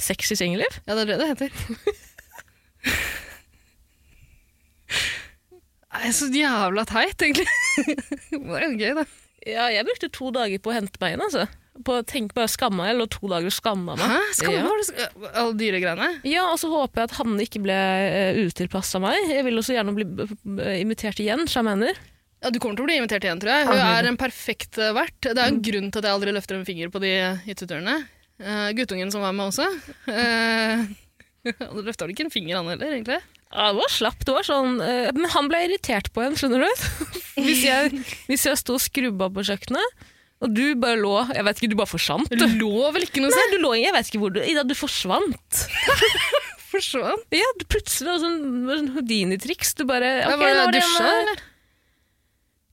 Speaker 1: Sexy singelliv.
Speaker 2: Ja, det er det det heter. Nei, så jævla teit, egentlig. Det var jo gøy, da.
Speaker 1: Ja, jeg brukte to dager på å hente meg inn. altså. På å tenke bare skamme meg, eller to dager å skamme meg.
Speaker 2: Hæ? Skal man
Speaker 1: ja.
Speaker 2: var det alle dyregreiene?
Speaker 1: ja, Og så håper jeg at Hanne ikke ble uh, utilpass av meg. Jeg vil også gjerne bli eh, invitert igjen, som jeg mener.
Speaker 2: Ja, Du kommer til å bli invitert igjen, tror jeg. Hun er en perfekt eh, vert. Det
Speaker 1: Mm.
Speaker 2: er jo en grunn til at jeg aldri løfter en finger på de hytteturene. Eh, guttungen som var med også. Uh, han løfta vel ikke en finger, han heller, egentlig?
Speaker 1: Ja, det var slapp, det var sånn, eh, Men han ble irritert på henne, skjønner du. hvis, jeg, hvis jeg sto og skrubba på kjøkkenet, Og du bare lå Jeg vet ikke, du bare forsvant.
Speaker 2: Det lå vel ikke noe
Speaker 1: Nei,
Speaker 2: sted?
Speaker 1: du lå Jeg vet ikke hvor du Ida, du forsvant.
Speaker 2: Forsvant.
Speaker 1: Ja, du plutselig var sånn, det var sånn Houdini-triks. Du bare
Speaker 2: Ja,
Speaker 1: ok,
Speaker 2: var det
Speaker 1: nå
Speaker 2: dusja,
Speaker 1: en-
Speaker 2: eller?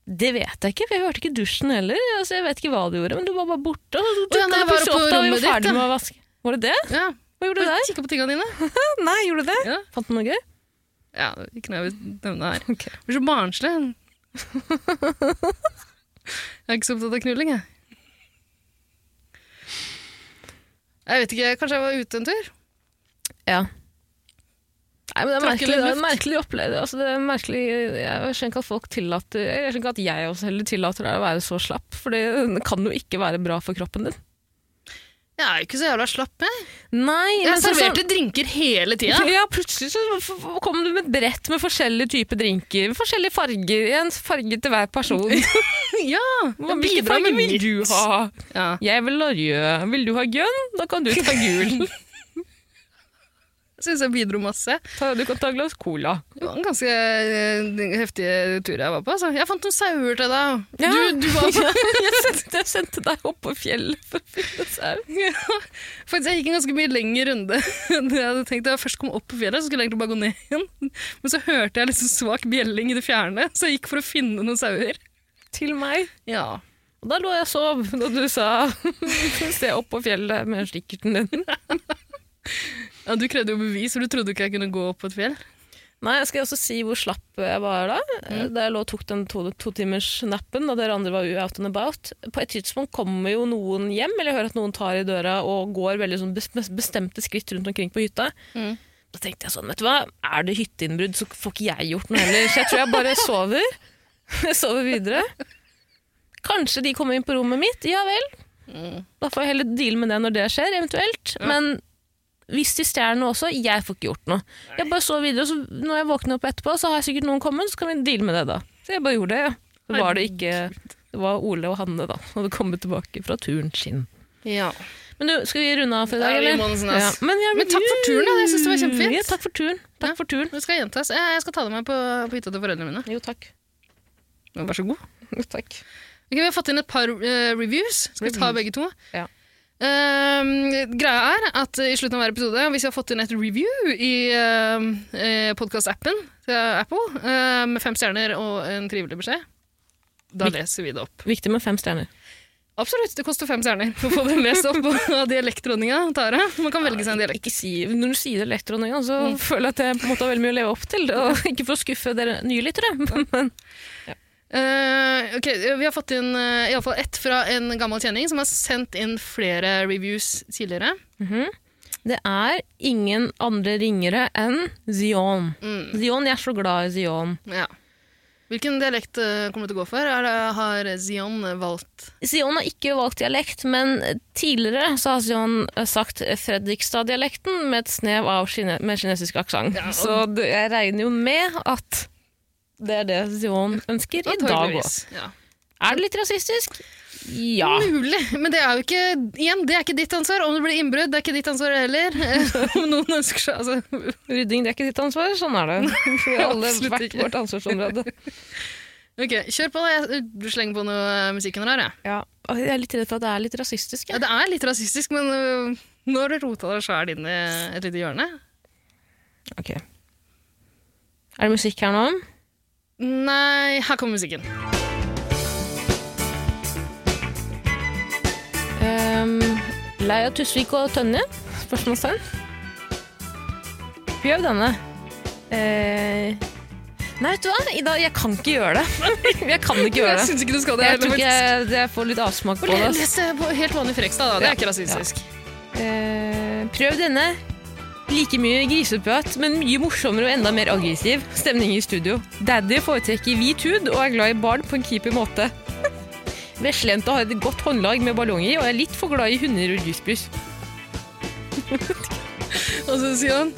Speaker 1: Det vet jeg ikke, for jeg hørte ikke dusjen heller. Altså, jeg vet ikke hva du gjorde, men du var bare borte. Og så
Speaker 2: Å ja,
Speaker 1: dukket
Speaker 2: nei,
Speaker 1: du
Speaker 2: jeg var
Speaker 1: plutselig
Speaker 2: på
Speaker 1: opp da vi
Speaker 2: rommet
Speaker 1: var
Speaker 2: ditt,
Speaker 1: ferdig
Speaker 2: ja.
Speaker 1: med å vaske. Var det det?
Speaker 2: Ja.
Speaker 1: Hva gjorde du der?
Speaker 2: Kikka på tinga dine.
Speaker 1: Nei, gjorde du det?
Speaker 2: Ja.
Speaker 1: Fant du noe gøy?
Speaker 2: Ja, det er ikke noe jeg vil nevne her.
Speaker 1: Ok.
Speaker 2: Jeg blir så barnslig. Jeg er ikke så opptatt av knulling, jeg. Jeg vet ikke, kanskje jeg var ute en tur?
Speaker 1: Ja. Nei, men Det er
Speaker 2: Tråkke
Speaker 1: merkelig,
Speaker 2: litt
Speaker 1: det er
Speaker 2: luft.
Speaker 1: merkelig opplegg. Altså, det er merkelig, jeg skjønner ikke at folk tillater Jeg skjønner ikke at jeg også heller tillater deg å være så slapp, for det kan jo ikke være bra for kroppen din.
Speaker 2: Jeg er jo ikke så jævla slapp, jeg.
Speaker 1: Nei,
Speaker 2: Jeg serverte drinker hele tida.
Speaker 1: ja. ja, plutselig så f- f- kom du med et brett med forskjellige typer drinker. Forskjellige farger. En farge til hver person.
Speaker 2: Ja, jeg
Speaker 1: Hvilken
Speaker 2: bidrar
Speaker 1: farge
Speaker 2: med
Speaker 1: vil
Speaker 2: litt.
Speaker 1: du ha?
Speaker 2: Ja.
Speaker 1: Jeg vil ha rød. Vil du ha grønn? Da kan du ta gul.
Speaker 2: Jeg syns jeg bidro masse.
Speaker 1: Ta- Du kan ta et glass cola.
Speaker 2: Det var en ganske eh, heftig tur jeg var på. Altså. Jeg fant noen sauer til deg.
Speaker 1: Ja.
Speaker 2: Du, du var på.
Speaker 1: Jeg sendte, jeg sendte deg opp på fjellet for å finne sau.
Speaker 2: Faktisk, jeg gikk en ganske mye lengre runde enn jeg hadde tenkt. Da jeg først kom opp på fjellet, så skulle jeg egentlig bare gå ned igjen. Men så hørte jeg litt sånn svak bjelling i det fjerne, så jeg gikk for å finne noen sauer.
Speaker 1: Til meg.
Speaker 2: Ja.
Speaker 1: Og da lå jeg og sov da du sa se opp på fjellet med stikkerten din.
Speaker 2: ja du krevde jo bevis, for du trodde ikke jeg kunne gå opp på et fjell.
Speaker 1: Nei, jeg skal også si hvor slapp jeg var da. Da jeg lå og tok den to, to timers nappen, og dere andre var jo out and about. På et tidspunkt kommer jo noen hjem, eller jeg hører at noen tar i døra og går veldig sånn bes- bestemte skritt rundt omkring på hytta. Da tenkte jeg sånn, vet du hva, er det hytteinnbrudd, så får ikke jeg gjort noe heller. Så jeg tror jeg bare sover. Jeg sover videre. Kanskje de kommer inn på rommet mitt, ja vel. Da får jeg heller deale med det når det skjer, eventuelt. Men hvis de stjeler noe også, jeg får ikke gjort noe. Jeg bare så videre, og så når jeg våkner opp etterpå, så har jeg sikkert noen kommet, så kan vi deale med det da. Så jeg bare gjorde det, ja. Så var det ikke... Det var Ole og Hanne da, som hadde kommet tilbake fra turen sin.
Speaker 2: Ja.
Speaker 1: Men du, skal vi runde av for i dag,
Speaker 2: Ja, vi
Speaker 1: eller?
Speaker 2: må nesten, ass.
Speaker 1: Men, ja,
Speaker 2: Men takk for turen, da. Jeg synes det var kjempefint.
Speaker 1: Ja, takk for turen. Takk
Speaker 2: Ja.
Speaker 1: for turen.
Speaker 2: Det skal gjentas. Jeg jeg skal ta det med på, på hytta til foreldrene mine.
Speaker 1: Jo, takk.
Speaker 2: Ja, Vær så god.
Speaker 1: Jo, takk.
Speaker 2: Ok, vi har fått inn et par eh, reviews. Skal vi ta
Speaker 1: Reviews.
Speaker 2: begge to?
Speaker 1: Ja.
Speaker 2: Ehm, greia er at i slutten av hver episode, hvis vi har fått inn et review i uh, podkast-appen til Apple, eh, med fem stjerner og en trivelig beskjed, da leser vi det opp.
Speaker 1: Viktig med fem stjerner.
Speaker 2: Absolutt, det koster fem stjerner for å få det lest opp av dialektdronninga Tara. Man kan velge seg en dialekt. Mm.
Speaker 1: Ikke si, når du sier det lett, Ronny, så føler jeg at jeg på en måte har veldig mye å leve opp til. Og ikke for å skuffe dere nye lyttere, men
Speaker 2: Eh, ok, Vi har fått inn eh, i alle fall ett fra en gammel kjenning som har sendt inn flere reviews tidligere.
Speaker 1: det er ingen andre ringere enn Zion.
Speaker 2: Mm.
Speaker 1: Zion, jeg er så glad i Zion.
Speaker 2: Ja. Hvilken dialekt eh, kommer du til å gå for? Er det, har Zion valgt
Speaker 1: Zion har ikke valgt dialekt, men tidligere så har Zion eh, sagt Fredrikstad-dialekten med et snev av kine med kinesisk aksent.
Speaker 2: Ja, og-
Speaker 1: Så det- jeg regner jo med at det er det Zion ønsker i dag òg.
Speaker 2: Antageligvis, Ja.
Speaker 1: Er det litt rasistisk? Ja.
Speaker 2: Mulig, men det er jo ikke igjen, det er ikke ditt ansvar. Om det blir innbrudd, det er ikke ditt ansvar heller. Eh, Om noen ønsker seg altså.
Speaker 1: Rydding det er ikke ditt ansvar. Sånn er det. Vi har alle
Speaker 2: Absolutt
Speaker 1: hvert
Speaker 2: ikke.
Speaker 1: vårt ansvarsområde.
Speaker 2: Ok, kjør på. da. Jeg eh, slenger på noe eh, musikk under her. jeg.
Speaker 1: Ja. og Jeg er litt redd for at det er litt rasistisk.
Speaker 2: Ja,
Speaker 1: Jeg.
Speaker 2: det er litt rasistisk, men øh, nå har du rota deg sjæl inn i et lite hjørne.
Speaker 1: Ok. Er det musikk her nå?
Speaker 2: Nei, her kommer musikken.
Speaker 1: Um, Leia Tusvik og Tønje? Spørsmålstegn. Prøv denne. Eh, nei, vet du hva? Ida, jeg kan ikke gjøre det. jeg kan ikke gjøre
Speaker 2: Jeg
Speaker 1: det.
Speaker 2: syns ikke du skal det.
Speaker 1: Jeg tror ikke jeg, jeg får litt avsmak på det. altså. ass.
Speaker 2: Les det på helt vanlig Frekstad, da. Det
Speaker 1: Ja,
Speaker 2: er ikke rasistisk.
Speaker 1: Eh, prøv denne. Like mye griseprat, men mye morsommere og enda mer aggressiv. Stemning i studio. Daddy foretrekker hvit hud og er glad i barn på en keeper måte. Veslejenta har et godt håndlag med ballonger og er litt for glad i hunder og juicebrus.
Speaker 2: Og så sier han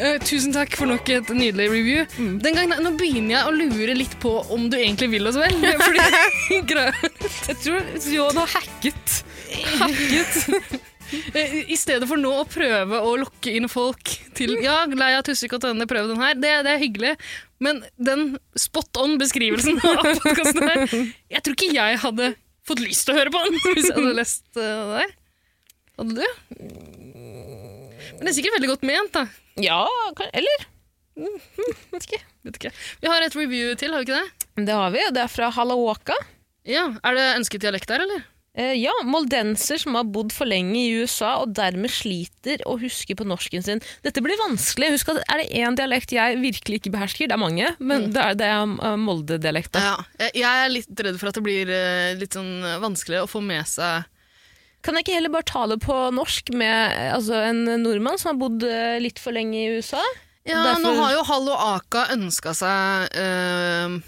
Speaker 2: «Eh, Tusen takk for nok et nydelig review. Den gangen, nå begynner jeg å lure litt på om du egentlig vil oss vel. Fordi, greia-
Speaker 1: Jeg tror Johan har hacket.
Speaker 2: eh, I stedet for nå å prøve å lokke inn folk til Ja, Leia Tusvik og Tønne, prøv den her. Det, det er hyggelig. Men den spot on-beskrivelsen av podkasten her Jeg tror ikke jeg hadde fått lyst til å høre på den hvis jeg hadde lest eh, det der. Hadde du? Men det er sikkert veldig godt ment, da.
Speaker 1: Ja, kan- eller? Mm, vet ikke.
Speaker 2: Vet ikke. Vi har et review til, har vi ikke det?
Speaker 1: Men Det har vi, og det er fra Halawaka.
Speaker 2: Ja, Er det ønsket dialekt der, eller?
Speaker 1: Eh, ja, moldenser som har bodd for lenge i USA og dermed sliter å huske på norsken sin. Dette blir vanskelig. Husk at Er det én dialekt jeg virkelig ikke behersker? Det er mange, men det er, det er eh, Molde-dialekt. da.
Speaker 2: Ja, jeg- Jeg er litt redd for at det blir eh, litt sånn vanskelig å få med seg
Speaker 1: Kan jeg ikke heller bare tale på norsk med eh, altså, en nordmann som har bodd eh, litt for lenge i USA?
Speaker 2: Ja,
Speaker 1: Derfor-
Speaker 2: nå har jo Hall og Aka ønska seg eh,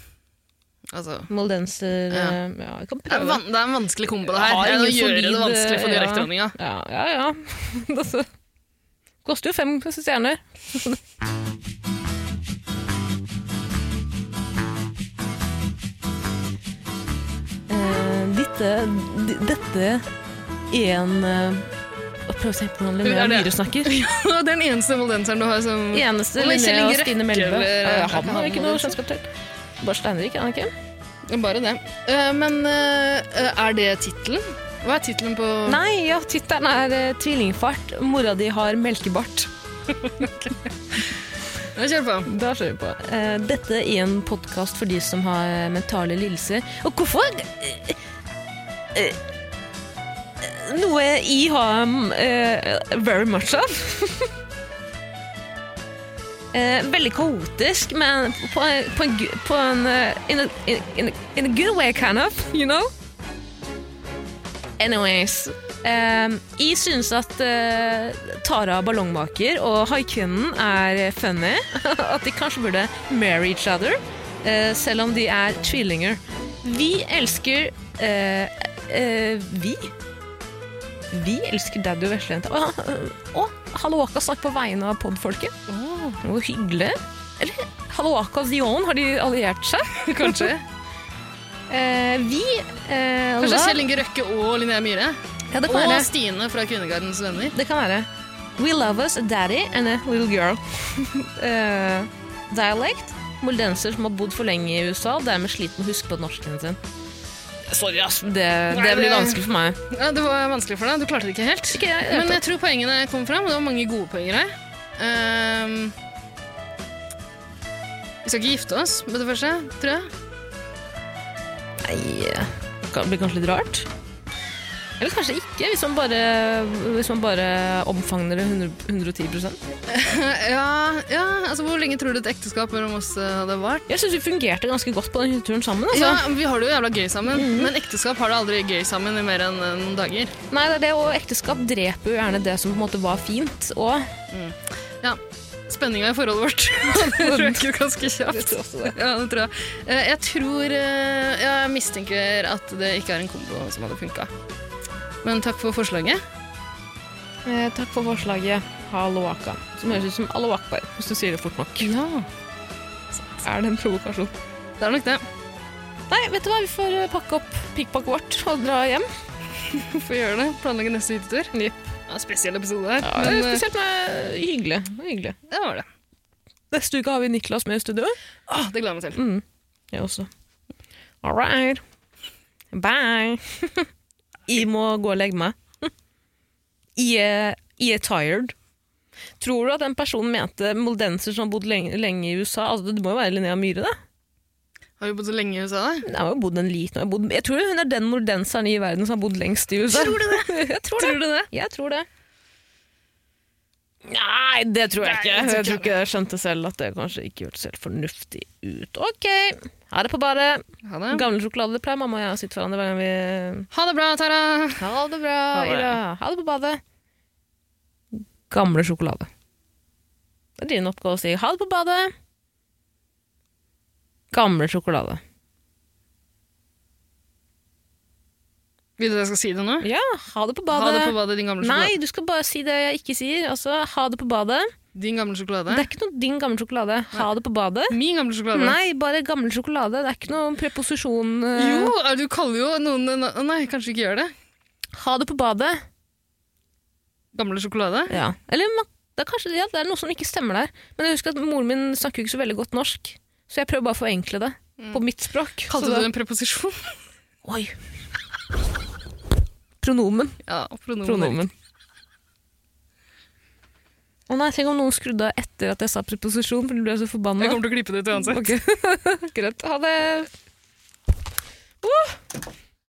Speaker 2: Altså
Speaker 1: Moldenser ja. ja, jeg kan
Speaker 2: det er,
Speaker 1: prøve.
Speaker 2: van, det er en vanskelig kombo, det
Speaker 1: Jeg
Speaker 2: her.
Speaker 1: har
Speaker 2: Det er å
Speaker 1: ingen
Speaker 2: gjøre det
Speaker 1: solid, eh,
Speaker 2: vanskelig for
Speaker 1: ja.
Speaker 2: direkteordninga.
Speaker 1: Ja, ja. ja. altså, koster jo fem stjerner. Eh, Dette, d- dette er en eh, Prøv å tenke på hvordan Linnea
Speaker 2: Er det-
Speaker 1: Myhre snakker.
Speaker 2: Det er den eneste moldenseren du har som
Speaker 1: Eneste
Speaker 2: Eller Kjell
Speaker 1: Linnea og
Speaker 2: Inge
Speaker 1: Stine
Speaker 2: Røkke,
Speaker 1: Melbø.
Speaker 2: eller-
Speaker 1: Ja, Han har ikke noe
Speaker 2: Moldenser.
Speaker 1: kjennskap til. Bare Steinrik, er han ikke?
Speaker 2: Bare det. Eh, men eh, er det tittelen? Hva er tittelen på
Speaker 1: Nei, ja, tittelen er eh, 'Tvillingfart. Mora di har melkebart'.
Speaker 2: Ja, Kjør på.
Speaker 1: Da kjører vi på. Eh, dette er en podkast for de som har eh, mentale lidelser. Og hvorfor eh, eh, Noe jeg har eh, very much av. Eh, veldig kaotisk, men på, en- på en, gu- på en eh, in, a, in, in, a- in a good way, kind of, you know? Anyways. eh, jeg syns at eh, Tara Ballongmaker og haikvinnen er funny. at de kanskje burde marry each other, eh, selv om de er tvillinger. Vi elsker eh, eh, Vi? Vi elsker Daddy og Veslejenta. Og, og Hallowaka snakker på vegne av podfolket. Det var hyggelig. Eller Hallowaka og Zion, har de alliert seg?
Speaker 2: Kanskje.
Speaker 1: Eh, vi eh,
Speaker 2: Kanskje
Speaker 1: la-
Speaker 2: Kjell Inge Røkke og Linnea Myhre.
Speaker 1: Ja, det kan
Speaker 2: Og
Speaker 1: være.
Speaker 2: Stine fra Kvinnegardens Venner.
Speaker 1: Det kan være. We love us a daddy and a little girl. Eh, dialect. Moldenser som har bodd for lenge i USA og dermed sliter med å huske på norsken sin. Sorry, ass. Det, det
Speaker 2: det-
Speaker 1: blir vanskelig for meg.
Speaker 2: Ja, det var vanskelig for deg. Du klarte det ikke helt.
Speaker 1: Ikke jeg,
Speaker 2: Men jeg tror poengene kom fram, og det var mange gode poenger her. Ehm, vi skal ikke gifte oss med det første, tror jeg.
Speaker 1: Nei, det blir kanskje litt rart. Eller kanskje ikke, hvis man bare, hvis man bare omfavner det 100, 110
Speaker 2: Ja, ja, altså Hvor lenge tror du et ekteskap mellom oss eh, hadde vart?
Speaker 1: Jeg syns vi fungerte ganske godt på den hytteturen sammen. Altså.
Speaker 2: Ja, Mhm. Vi har det jo jævla gøy sammen, men ekteskap har det aldri gøy sammen i mer enn eh, noen dager.
Speaker 1: Nei, det er det, og ekteskap dreper jo gjerne det som på en måte var fint. Og
Speaker 2: Ja, Spenninga i forholdet vårt hadde øket ganske kjapt. Ja, det tror jeg. Eh, Jeg tror eh, Jeg mistenker at det ikke er en kombo som hadde funka. Men takk for forslaget.
Speaker 1: Eh, takk for forslaget. Halloaka. Som høres ut som Alawakbar, hvis du sier det fort nok.
Speaker 2: Ja,
Speaker 1: Er det en provokasjon?
Speaker 2: det er nok det.
Speaker 1: Nei, vet du hva, vi får eh, pakke opp pikkpakket vårt og dra hjem.
Speaker 2: Får gjøre det. Planlegge neste hyttetur.
Speaker 1: Jepp.
Speaker 2: Ja, spesiell episode her.
Speaker 1: Ja,
Speaker 2: men,
Speaker 1: det er
Speaker 2: eh,
Speaker 1: spesielt med hyggelig. Det var hyggelig.
Speaker 2: det var det.
Speaker 1: Neste uke har vi Niklas med i studio.
Speaker 2: Åh, det gleder jeg meg til.
Speaker 1: Jeg også. All right. Bye. jeg må gå og legge meg. Jeg er, jeg er tired. Tror du at den personen mente moldenser som har bodd lenge, lenge i USA? Altså, det må jo være Linnea Myhre, det?
Speaker 2: Har vi bodd så lenge i USA? da?
Speaker 1: Jeg har jo bodd en liten jeg, har bodd, jeg tror hun er den mordenseren i verden som har bodd lengst i USA. Tror du det? jeg tror det.
Speaker 2: Tror du det?
Speaker 1: Jeg tror det. Nei, det tror jeg
Speaker 2: Nei,
Speaker 1: ikke.
Speaker 2: jeg tror
Speaker 1: Jeg
Speaker 2: ikke
Speaker 1: tror ikke jeg skjønte selv at det kanskje ikke hørtes helt fornuftig ut. Ok, ha det på badet.
Speaker 2: Ha det.
Speaker 1: Gamle sjokolader pleier mamma og jeg å sitte hverandre hver gang vi
Speaker 2: Ha det bra, Tara!
Speaker 1: Ha det bra,
Speaker 2: Ha det.
Speaker 1: Ida. Ha det på badet. Gamle sjokolade. Det er din oppgave å si ha det på badet. Gamle sjokolade.
Speaker 2: Vil du at jeg skal si det nå?
Speaker 1: Ja, ha det på
Speaker 2: Ha
Speaker 1: badet.
Speaker 2: det på badet, din gamle sjokolade.
Speaker 1: Nei, du skal bare si det jeg ikke sier. Altså, ha det på badet.
Speaker 2: Din gamle sjokolade.
Speaker 1: Det er ikke noe din gamle sjokolade. Ha det på badet.
Speaker 2: Min gamle sjokolade.
Speaker 1: Nei, bare gammel sjokolade. Det er ikke noe preposisjon. eh.
Speaker 2: Jo, er- du kaller jo noen na- Nei, kanskje ikke gjør det.
Speaker 1: Ha det på badet.
Speaker 2: Gamle sjokolade?
Speaker 1: Ja. Eller man- det er kanskje ja, det er noe som ikke stemmer der. Men jeg husker at moren min snakker jo ikke så veldig godt norsk, så jeg prøver bare å forenkle det på mitt språk.
Speaker 2: Kalte
Speaker 1: så
Speaker 2: du det
Speaker 1: da-
Speaker 2: en preposisjon?
Speaker 1: Oi. Pronomen.
Speaker 2: Ja, pronomen.
Speaker 1: Pronomen. Å nei, tenk om noen skrudde av etter at jeg sa preposisjon, for de ble så
Speaker 2: Jeg
Speaker 1: forbanna.
Speaker 2: kommer til å klippe det ut uansett.
Speaker 1: Ok. Greit. Ha det.